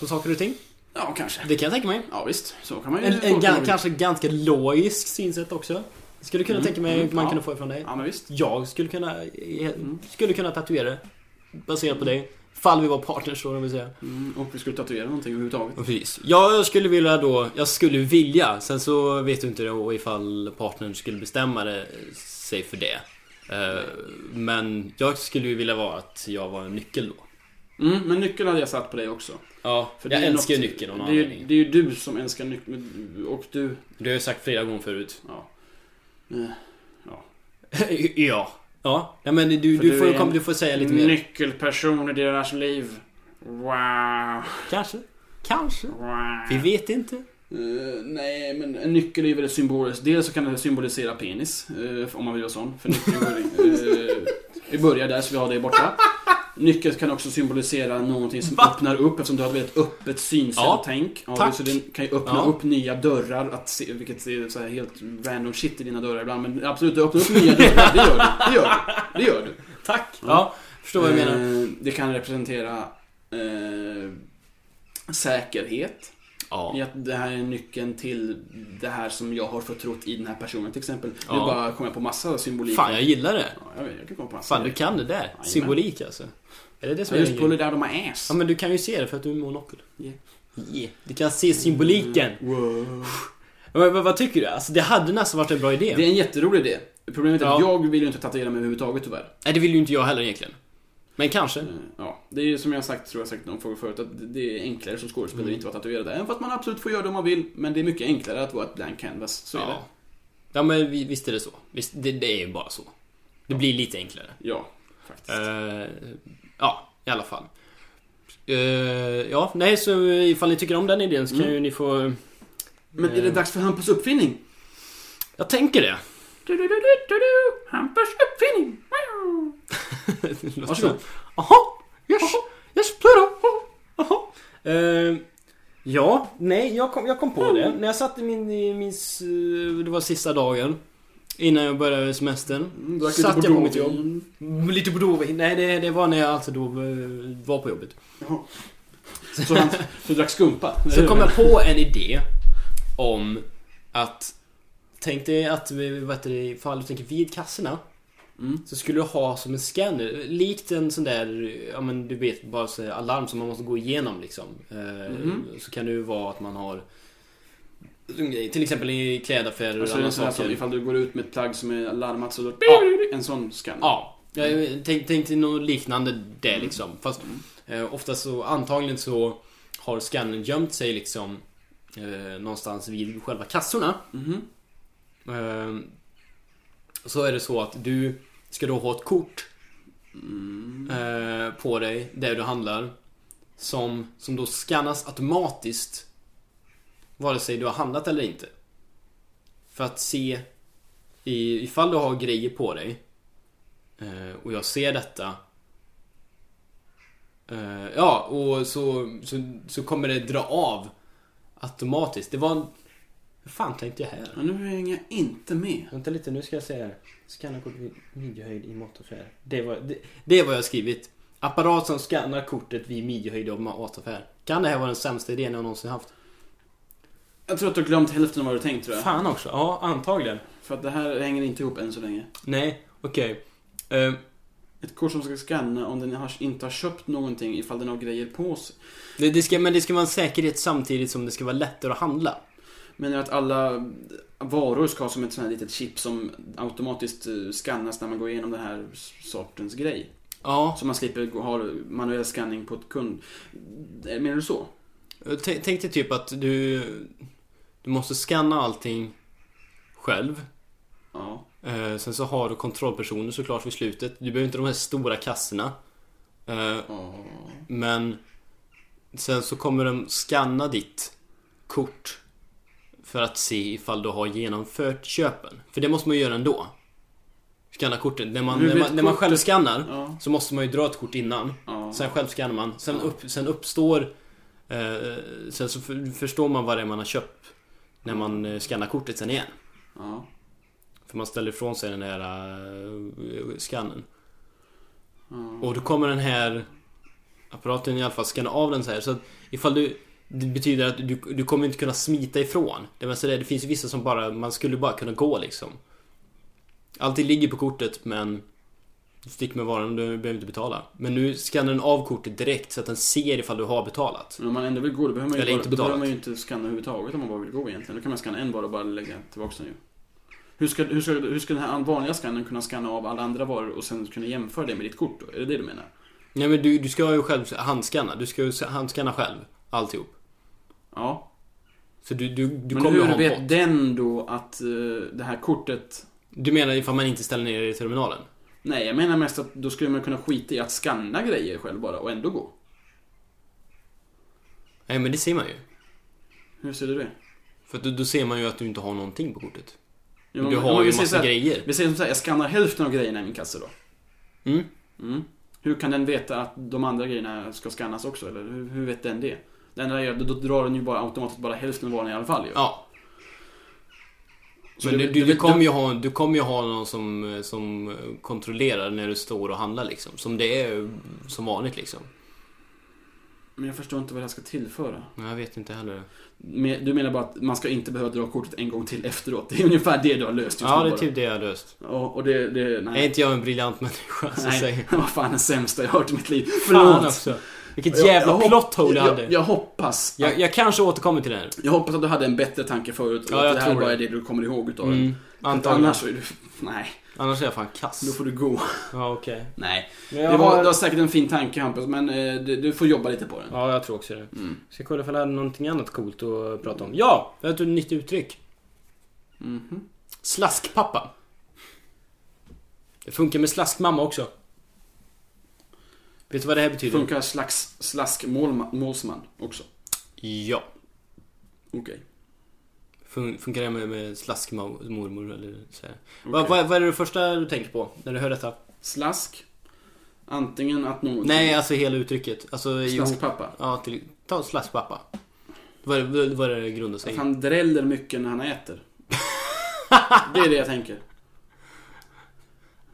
På saker och ting.
Ja, kanske.
Det kan jag tänka mig.
Ja, visst. Så kan man ju
En, en
tolka
gan,
det.
kanske ganska logisk synsätt också. Skulle kunna
Mm,
tänka mig
mm,
att man
ja. Mm.
kunde få ifrån dig.
Ja, men visst.
Jag skulle kunna, eh, skulle kunna tatuera det. Baserat på dig. Fall vi var partners då, vill säga.
Mm, och vi skulle tatuera någonting överhuvudtaget.
Ja, Precis. Jag skulle vilja då, jag skulle vilja, sen så vet du inte då ifall partnern skulle bestämma det, sig för det. Eh, Men jag skulle ju vilja vara att jag var en nyckel då.
Mm, men nyckeln hade jag satt på dig också.
Ja,
För
jag
det är
älskar ju
något-
nyckeln av
Det
någon
är, ju,
anledning.
det är ju du som älskar nyckeln. Och du...
Det har jag sagt flera gånger
[laughs]
förut.
Ja. Eh,
ja. Ja, nej, men du, du,
För du
får,
är en
kom, du får säga lite mer.
Nyckelperson i deras liv. Wow.
Kanske. Kanske.
wow.
Vi vet inte.
Eh, nej, men en nyckel är ju väldigt symbolisk. Dels så kan den symbolisera penis, eh, om man vill göra sån. För nyckeln går in. Eh, vi börjar där, så vi har det borta. Nyckeln kan också symbolisera någonting som öppnar upp, eftersom du har ett väldigt öppet synsätt
Ja,
och tänk. Ja,
tack.
Så den kan ju öppna
Ja.
upp nya dörrar, att se, vilket är så här helt random shit i dina dörrar ibland. Men absolut, det öppnar upp nya dörrar. Det gör du. Det gör du. Det gör du.
Tack.
Ja.
Ja, förstår vad du menar.
Eh, det kan representera eh, säkerhet. I
Ja.
att det här är nyckeln till det här som jag har förtrott i den här personen till exempel. Nu
Ja.
bara kommer jag på massa symbolik.
Fan, jag gillar det.
Ja, jag, vet, jag kan komma på massa.
Fan, du kan det där. Symbolik alltså. Är det det som
Så
är
just
din grej?
pull it out of my ass.
Ja, men du kan ju se det för att du är monokel.
Yeah.
Yeah. Du kan se symboliken.
Wow.
Men, men, vad tycker du? Alltså, det hade nästan varit en bra idé.
Det är en jätterolig idé. Problemet är att
Ja.
jag vill ju inte tatuera mig överhuvudtaget tyvärr.
Nej, det vill ju inte jag heller egentligen. Men kanske.
Eh, Ja, det är ju som jag har sagt, tror jag sagt någon fråga förut, att det är enklare som skådespelare
Mm.
att inte vara tatuerad. Även fast man absolut får göra det om man vill, men det är mycket enklare att vara ett blank canvas. Så är det.
Ja. ja, men vi- visst är det så. Visst, det, det är ju bara så. Det blir lite enklare.
Ja, faktiskt.
Eh, ja, i alla fall. Eh, ja, nej, så ifall ni tycker om den idén så kan
Mm.
ju ni få...
Men
Eh.
är det dags för Hampus uppfinning?
Jag tänker det.
Du, du, du, du, du, du. Hampus uppfinning! Wow.
Det låter
Varsågod.
så. Jaha, yes, yes, Pluto. Jaha. Eh, ja, nej, jag kom, jag kom på det. När jag satt i min, i min... s- eh, Det var sista dagen. Innan jag började semestern.
Mm, drack lite
Satt jag på mitt
Bordeauxvin.
jobb. Lite på Dovin. Nej, det, det var när jag alltså då eh, var på jobbet.
Jaha.
[laughs]
Så han så drack skumpa?
Så kom jag på en idé om att Tänk dig att vi, vad heter det, ifall du tänker vid kassorna
Mm.
Så skulle du ha som en scanner, likt en sån där, ja men du vet, bara så här alarm som man måste gå igenom liksom. Eh,
Mhm.
Så kan det ju vara att man har en grej, Till exempel i klädaffärer och
Alltså, det är
andra
en sån här som
saker.
ifall du går ut med ett plagg som är larmat så då...
Ja.
En sån skanner.
Ja, jag tänk, tänk dig något liknande där liksom. Fast
Mm.
eh, ofta så antagligen så har scannern gömt sig liksom eh, någonstans vid själva kassorna.
Mhm.
Eh, så är det så att du ska då ha ett kort
Mm.
eh, på dig där du handlar. Som, som då skannas automatiskt. Vare sig du har handlat eller inte. För att se i, ifall du har grejer på dig. Eh, och jag ser detta. Eh, ja, och så, så, så kommer det dra av automatiskt. Det var en... Hur fan tänkte jag här?
Men nu hänger jag inte med.
Vänta lite, nu ska jag säga här. Scanna kort vid midjehöjd i mataffär. Det var, det, det var jag har skrivit. Apparat som skannar kortet vid midjehöjd av mataffär. Kan det här vara den sämsta idén jag någonsin haft?
Jag tror att du har glömt hälften av vad du tänkt tror jag.
Fan också. Ja, antagligen.
För att det här hänger inte ihop än så länge.
Nej, okej. Eh,
Ett kort som ska skanna om den har, inte har köpt någonting ifall den har grejer på sig.
det, det ska, men det ska vara en säkerhet samtidigt som det ska vara lättare att handla.
Men att alla varor ska ha som ett sånt här litet chip som automatiskt eh, skannas när man går igenom den här sortens grej.
Ja,
Så man slipper gå- ha manuell scanning på ett kund. Eh, Menar du så?
t- tänk dig typ att du... Du måste scanna allting själv.
Ja.
Eh, sen så har du kontrollpersoner såklart vid slutet. Du behöver inte de här stora kassorna. Eh,
ja.
Men sen så kommer de scanna ditt kort för att se ifall du har genomfört köpen. För det måste man ju göra ändå. Scanna kortet. När man,
Hur
när
vet
man, när man
kortet?
själv scannar
Ja.
så måste man ju dra ett kort innan.
ja.
Sen själv scannar man. Sen, upp, sen uppstår... Eh, sen så för, förstår man vad det är man har köpt när man eh, scannar kortet sen igen.
ja.
För man ställer ifrån sig den här eh, skannen.
Ja.
Och då kommer den här apparaten i alla fall skanna av den så här. Så att ifall du... Det betyder att du, du kommer inte kunna smita ifrån. Det, vill säga, det finns ju vissa som bara... Man skulle bara kunna gå liksom. Allting ligger på kortet men... du Stick med varan, du behöver inte betala. Men nu skannar den av kortet direkt så att den ser ifall du har betalat.
Men om man ändå vill gå då behöver man ju,
Eller
bara,
inte
då behöver
betalat.
man ju inte scanna överhuvudtaget om man bara vill gå egentligen. Då kan man scanna en vara och bara lägga tillbaka den ju. Hur ska, hur, ska, hur ska den här vanliga skannen kunna scanna av alla andra varor och sen kunna jämföra det med ditt kort då? Är det det du menar?
Nej men du, du ska ju själv handskanna. Du ska ju handskanna själv. Alltihop.
Ja.
Så du, du, du
men
kommer ju ha
hur
en
vet
pott.
den då att eh, det här kortet...
Du menar ifall man inte ställer ner det i terminalen?
Nej, jag menar mest att då skulle man kunna skita i att skanna grejer själv bara och ändå gå.
Nej men det ser man ju.
Hur ser du det?
För att då, då ser man ju att du inte har någonting på kortet.
Ja,
du
men- ja, men
har
vi
ju
säger så
massa
här-
grejer.
Vi säger som så här, jag skannar hälften av grejerna i min kasse då.
Mm.
Mm. Hur kan den veta att de andra grejerna ska skannas också? Eller hur, hur vet den det? Den där gör, då, då drar den ju bara automatiskt bara hälften av varan i alla fall ju.
Ja.
Så
Men
det-
du, du,
det-
du, kommer ju ha, du kommer ju ha någon som, som eh, kontrollerar när du står och handlar liksom. Som det är som vanligt liksom.
Men jag förstår inte vad det här ska tillföra.
Men jag vet inte heller.
Men- Du menar bara att man ska inte behöva dra kortet en gång till efteråt? Det är ungefär det du har löst just
Ja,
nu
det är
bara.
typ det jag har löst.
Ja, och det, det,
Är
nej.
inte jag en briljant människa som
nej.
säger...
Vad fan den sämsta jag hört i mitt liv.
Fan
Förlåt.
också. Vilket jävla
Jag- jag
plot
hopp-
hole jag
jag,
hade.
jag, jag hoppas.
Jag, jag kanske återkommer till det här.
Jag hoppas att du hade en bättre tanke förut och
Ja,
att
jag
det här
tror
bara
det.
är det du kommer ihåg utav den.
Mm, antagligen.
Annars
Annars,
så är du... Nej,
är jag fan kass.
då får du gå.
Ja, okej.
Nej.
Men jag
Det var,
har-
det var säkert en fin tanke Hampus, men eh, du, du får jobba lite på den.
Ja, jag tror också det.
Mm.
Ska kolla ifall jag hade någonting annat coolt att prata om. Ja! Jag har ett nytt uttryck.
Mhm.
Slaskpappa. Det funkar med slaskmamma också. Vet du vad det här betyder?
Funkar slags, slask målma- målsman också?
Ja.
Okej.
Fun funkar det med, med slaskmormor eller så här.
Okej.
Vad, vad, vad är det första du tänker på när du hör detta?
Slask. Antingen att någon...
Nej, alltså hela uttrycket. Alltså, ihop-
Slaskpappa.
Ja, till, ta slaskpappa. Vad är det- vad är det det grundar sig
Att
i?
han dräller mycket när han äter.
[laughs]
det är det jag tänker.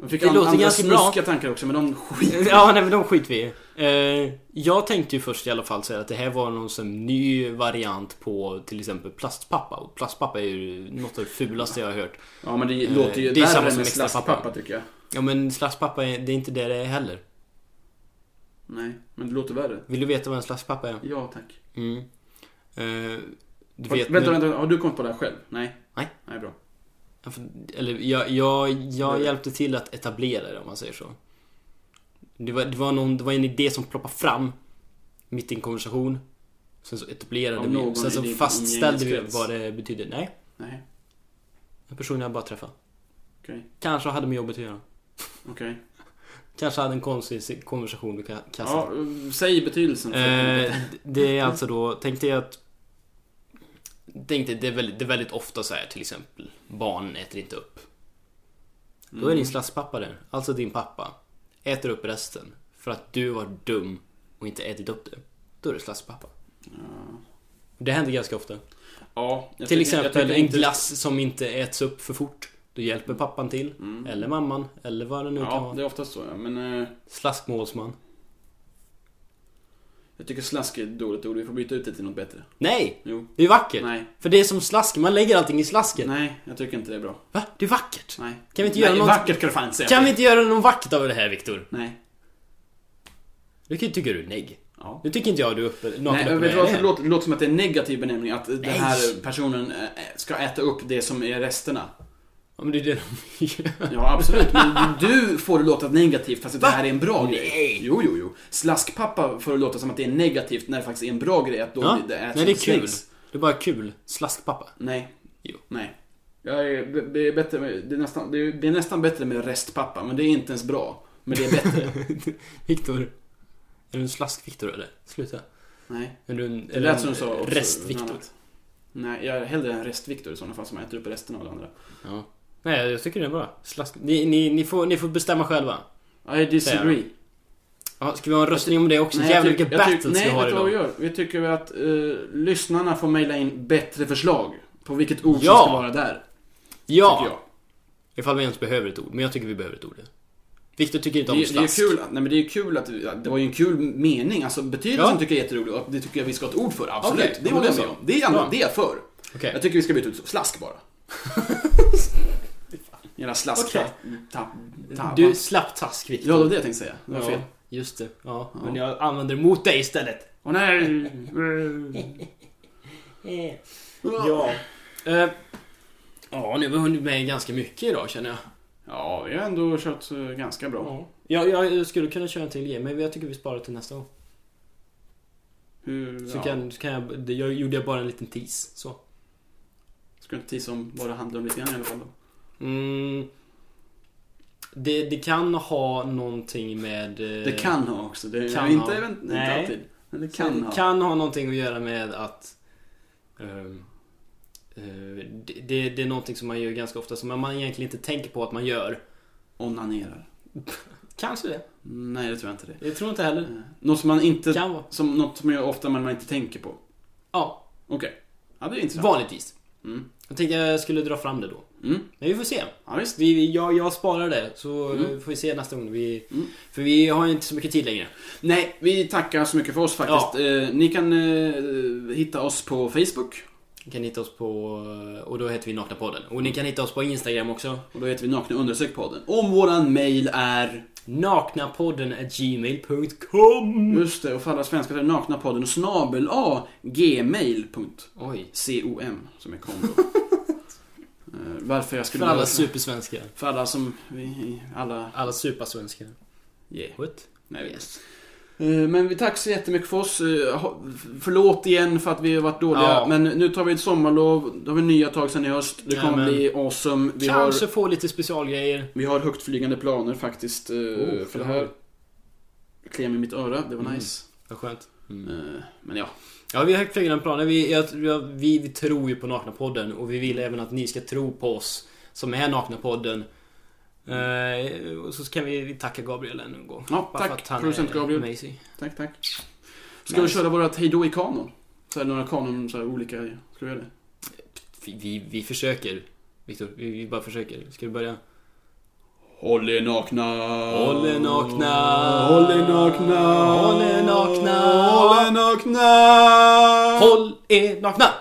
Jag fick
Det
an-
låter
andra
ganska bra.
snuskiga tankar också, men
[laughs]
de skiter
[clears throat] Ja, nej men de skiter vi i. Eh, Jag tänkte ju först i alla fall säga att det här var någon sån ny variant på till exempel plastpappa. Och plastpappa är ju något av det fulaste jag har hört.
Ja, men det
Eh,
låter ju
det är samma
värre
som
med
extra
slaskpappa
pappa.
tycker jag.
Ja men slaskpappa, är, det är inte det det är heller.
Nej, men det låter värre.
Vill du veta vad en slaskpappa är?
Ja, tack.
Mm. Eh, Du
Har,
vet
vänta,
nu-
vänta, har du kommit på det här själv? Nej.
Nej.
Nej, bra.
Ja, för- Eller jag, jag, jag
Nej.
hjälpte till att etablera det om man säger så. Det var, det var, någon, det var en idé som ploppade fram mitt i en konversation. Sen så etablerade
Av
vi,
någon
sen så
i din
fastställde vi
umgängeskrets.
vad det betydde. Nej,
Nej,
en person jag bara träffade.
okej.
Kanske hade med jobbet att göra.
Okej.
Kanske hade en konstig konversation med ka- kassan.
Ja, eh, säg betydelsen. för
Eh,
helvete.
det är alltså då, tänkte jag att... Tänkte, det är väldigt, det är väldigt ofta så här till exempel. Barn äter inte upp. Då
Mm.
är din slaskpappa där, alltså din pappa, äter upp resten för att du var dum och inte ätit upp det. Då är det slaskpappa. Det händer ganska ofta.
Ja, jag
till
tycker- jag
exempel
tycker
en
inte-
glass som inte äts upp för fort. Då hjälper pappan till, eller mamman, eller vad det nu kan
Mm. Ja,
vara.
det är oftast så ja. Men eh,
Slaskmålsman.
jag tycker slask är ett dåligt ord. Vi får byta ut det till något bättre.
Nej!
Jo.
Det är vackert!
Nej.
För det är som slask, man lägger allting i slasket.
Nej, jag tycker inte det är bra.
Va? Det är vackert!
Nej.
Kan vi inte
Nej,
göra något-
Vackert kan du fan inte säga.
Kan vi inte göra någon vackert av det här Viktor?
Nej.
Nu kan- tycker du nej.
Ja.
Nu tycker inte jag du är uppe, naken
Nej,
uppe
vet
med
du vad?
det
Det
här.
låter, det låter som att det är en negativ benämning. Att den
Nej.
här personen eh, ska äta upp det som är resterna.
Ja, men det är det de gör. [laughs]
Ja, absolut. Men du får det låta negativt fast att det här är en bra grej.
Nej.
Jo, jo, jo. Slaskpappa får det låta som att det är negativt när det faktiskt är en bra grej att då
Ja,
det äts
nej det är
som
kul.
snacks.
Det är bara kul. Slaskpappa.
Nej.
Jo.
Nej. Jag är, det- det, är bättre med, det, är nästan, det, är, det är nästan bättre med restpappa, men det är inte ens bra. Men det är bättre.
Viktor. Är du en slask-Viktor eller? Sluta.
[laughs] Nej.
Är du en,
Det
är du en
lät som du sa också, något
rest-Viktor?
annat. Nej, jag är hellre en restviktor i sådana fall som äter upp resten av det andra.
Ja. Nej, jag tycker det är bra. Slask... Ni, ni, ni, får, ni får bestämma själva.
I disagree.
Ja, ska vi ha en röstning om det också?
jag
Jävlar
tycker-
vilken
jag tycker-
battles vi
Nej,
har
vet du vad vi
idag.
gör? Vi tycker att eh, lyssnarna får mejla in bättre förslag på vilket ord
Ja!
som ska vara där. Tycker
Ja!
jag.
Ifall vi ens behöver ett ord. Men jag tycker vi behöver ett ord. Viktor tycker inte
Det,
om
det är ju
slask.
kul, att- nej men det är ju kul att, vi- att det var ju en kul mening, alltså betydelsen
Ja.
tycker jag är jätterolig och det tycker jag vi ska ha ett ord för, absolut.
Okej,
det
men
håller jag
då
med om.
så.
Det är, jag-
Ja.
det är jag för.
Okej.
Jag tycker vi ska byta ut slask bara. [laughs] Jävla slask.
Okej.
Ta, ta,
Du slapp task, Viktor.
Ja, det var det jag tänkte säga. Det var fel.
Ja, just det. Ja, men jag använder det mot dig istället.
Åh nej! eh,
Eh, Ja. Eh, Ja, nu har vi hunnit med ganska mycket idag känner jag.
Ja, vi har ändå kört eh, ganska bra.
Ja. Jag, jag skulle kunna köra en till igen, men jag tycker vi sparar till nästa gång.
Hur,
Så
ja.
kan, kan jag, det, jag gjorde jag bara en liten tease. Så.
Ska du inte tisa om vad det handlar om lite grann i alla fall då?
Mm. Det, det kan ha någonting med... eh,
Det kan ha också. Det
kan
Eh, kan inte,
ha.
ha. inte
Nej.
alltid. Men det kan ha.
kan ha någonting att göra med att... ehm, eh, det, det, det är någonting som man gör ganska ofta som man egentligen inte tänker på att man gör.
Onanerar.
Kanske det.
Nej, det tror jag inte det.
Jag tror inte heller.
Eh, Något som man
Det
inte...
kan vara.
Som, något som man gör ofta men man inte tänker på.
Ja,
Okej. Ja, det är intressant.
vanligtvis.
Mm.
Jag tänkte jag skulle dra fram det då.
Mm.
Men vi får se.
Ja, visst.
Vi, vi- jag, jag sparar det så
Mm.
eh, får vi se nästa gång. Vi,
Mm.
För vi har ju inte så mycket tid längre.
Nej, vi tackar så mycket för oss faktiskt. Eh, ni kan eh, hitta oss på Facebook.
Ni kan hitta oss på... eh, Och då heter vi Naknapodden. Och ni kan hitta oss på Instagram också.
Och då heter vi Nakna Undersök podden. Om våran mail är...
Naknapodden gmail.com
Just det, och för alla svenskar så är det naknapodden snabel a gmail.com
Oj.
som är kom
[laughs]
då. Eh, Varför jag skulle...
För alla supersvenskar.
för alla som... Vi, alla...
Alla supersvenskar.
Yeah.
What?
Nej, vi-
Yes.
Eh, Men vi tackar så jättemycket för oss. Eh, ha- Förlåt igen för att vi har varit dåliga.
Ja.
Men nu tar vi ett sommarlov. Då har vi nya tag sen i höst. Det kommer
Jajamän.
bli awesome. Vi har,
Kanske få lite specialgrejer.
vi har högtflygande planer faktiskt. eh,
Oh,
för det
det
här kliar mig i mitt öra. Det var
Mm.
nice.
Vad skönt.
Eh, Men ja.
Ja, vi har högt flygande planer. Vi, jag, jag, vi, vi tror ju på Naknapodden och vi vill även att ni ska tro på oss som är Naknapodden. Eh, och så kan vi tacka Gabriel ännu en gång.
ja
Bara för
tack
att han är
producent Gabriel.
Amazing.
Tack, tack. Ska
Nice.
vi köra vårat hejdå i kanon? Så här, några kanon, så här, olika. Ska vi göra det?
Vi, vi, vi försöker. Viktor, vi, vi bara försöker. Ska du börja?
Håll er nakna.
Håll er nakna.
Håll er nakna.
Håll er nakna.
Håll er nakna.
Håll er nakna!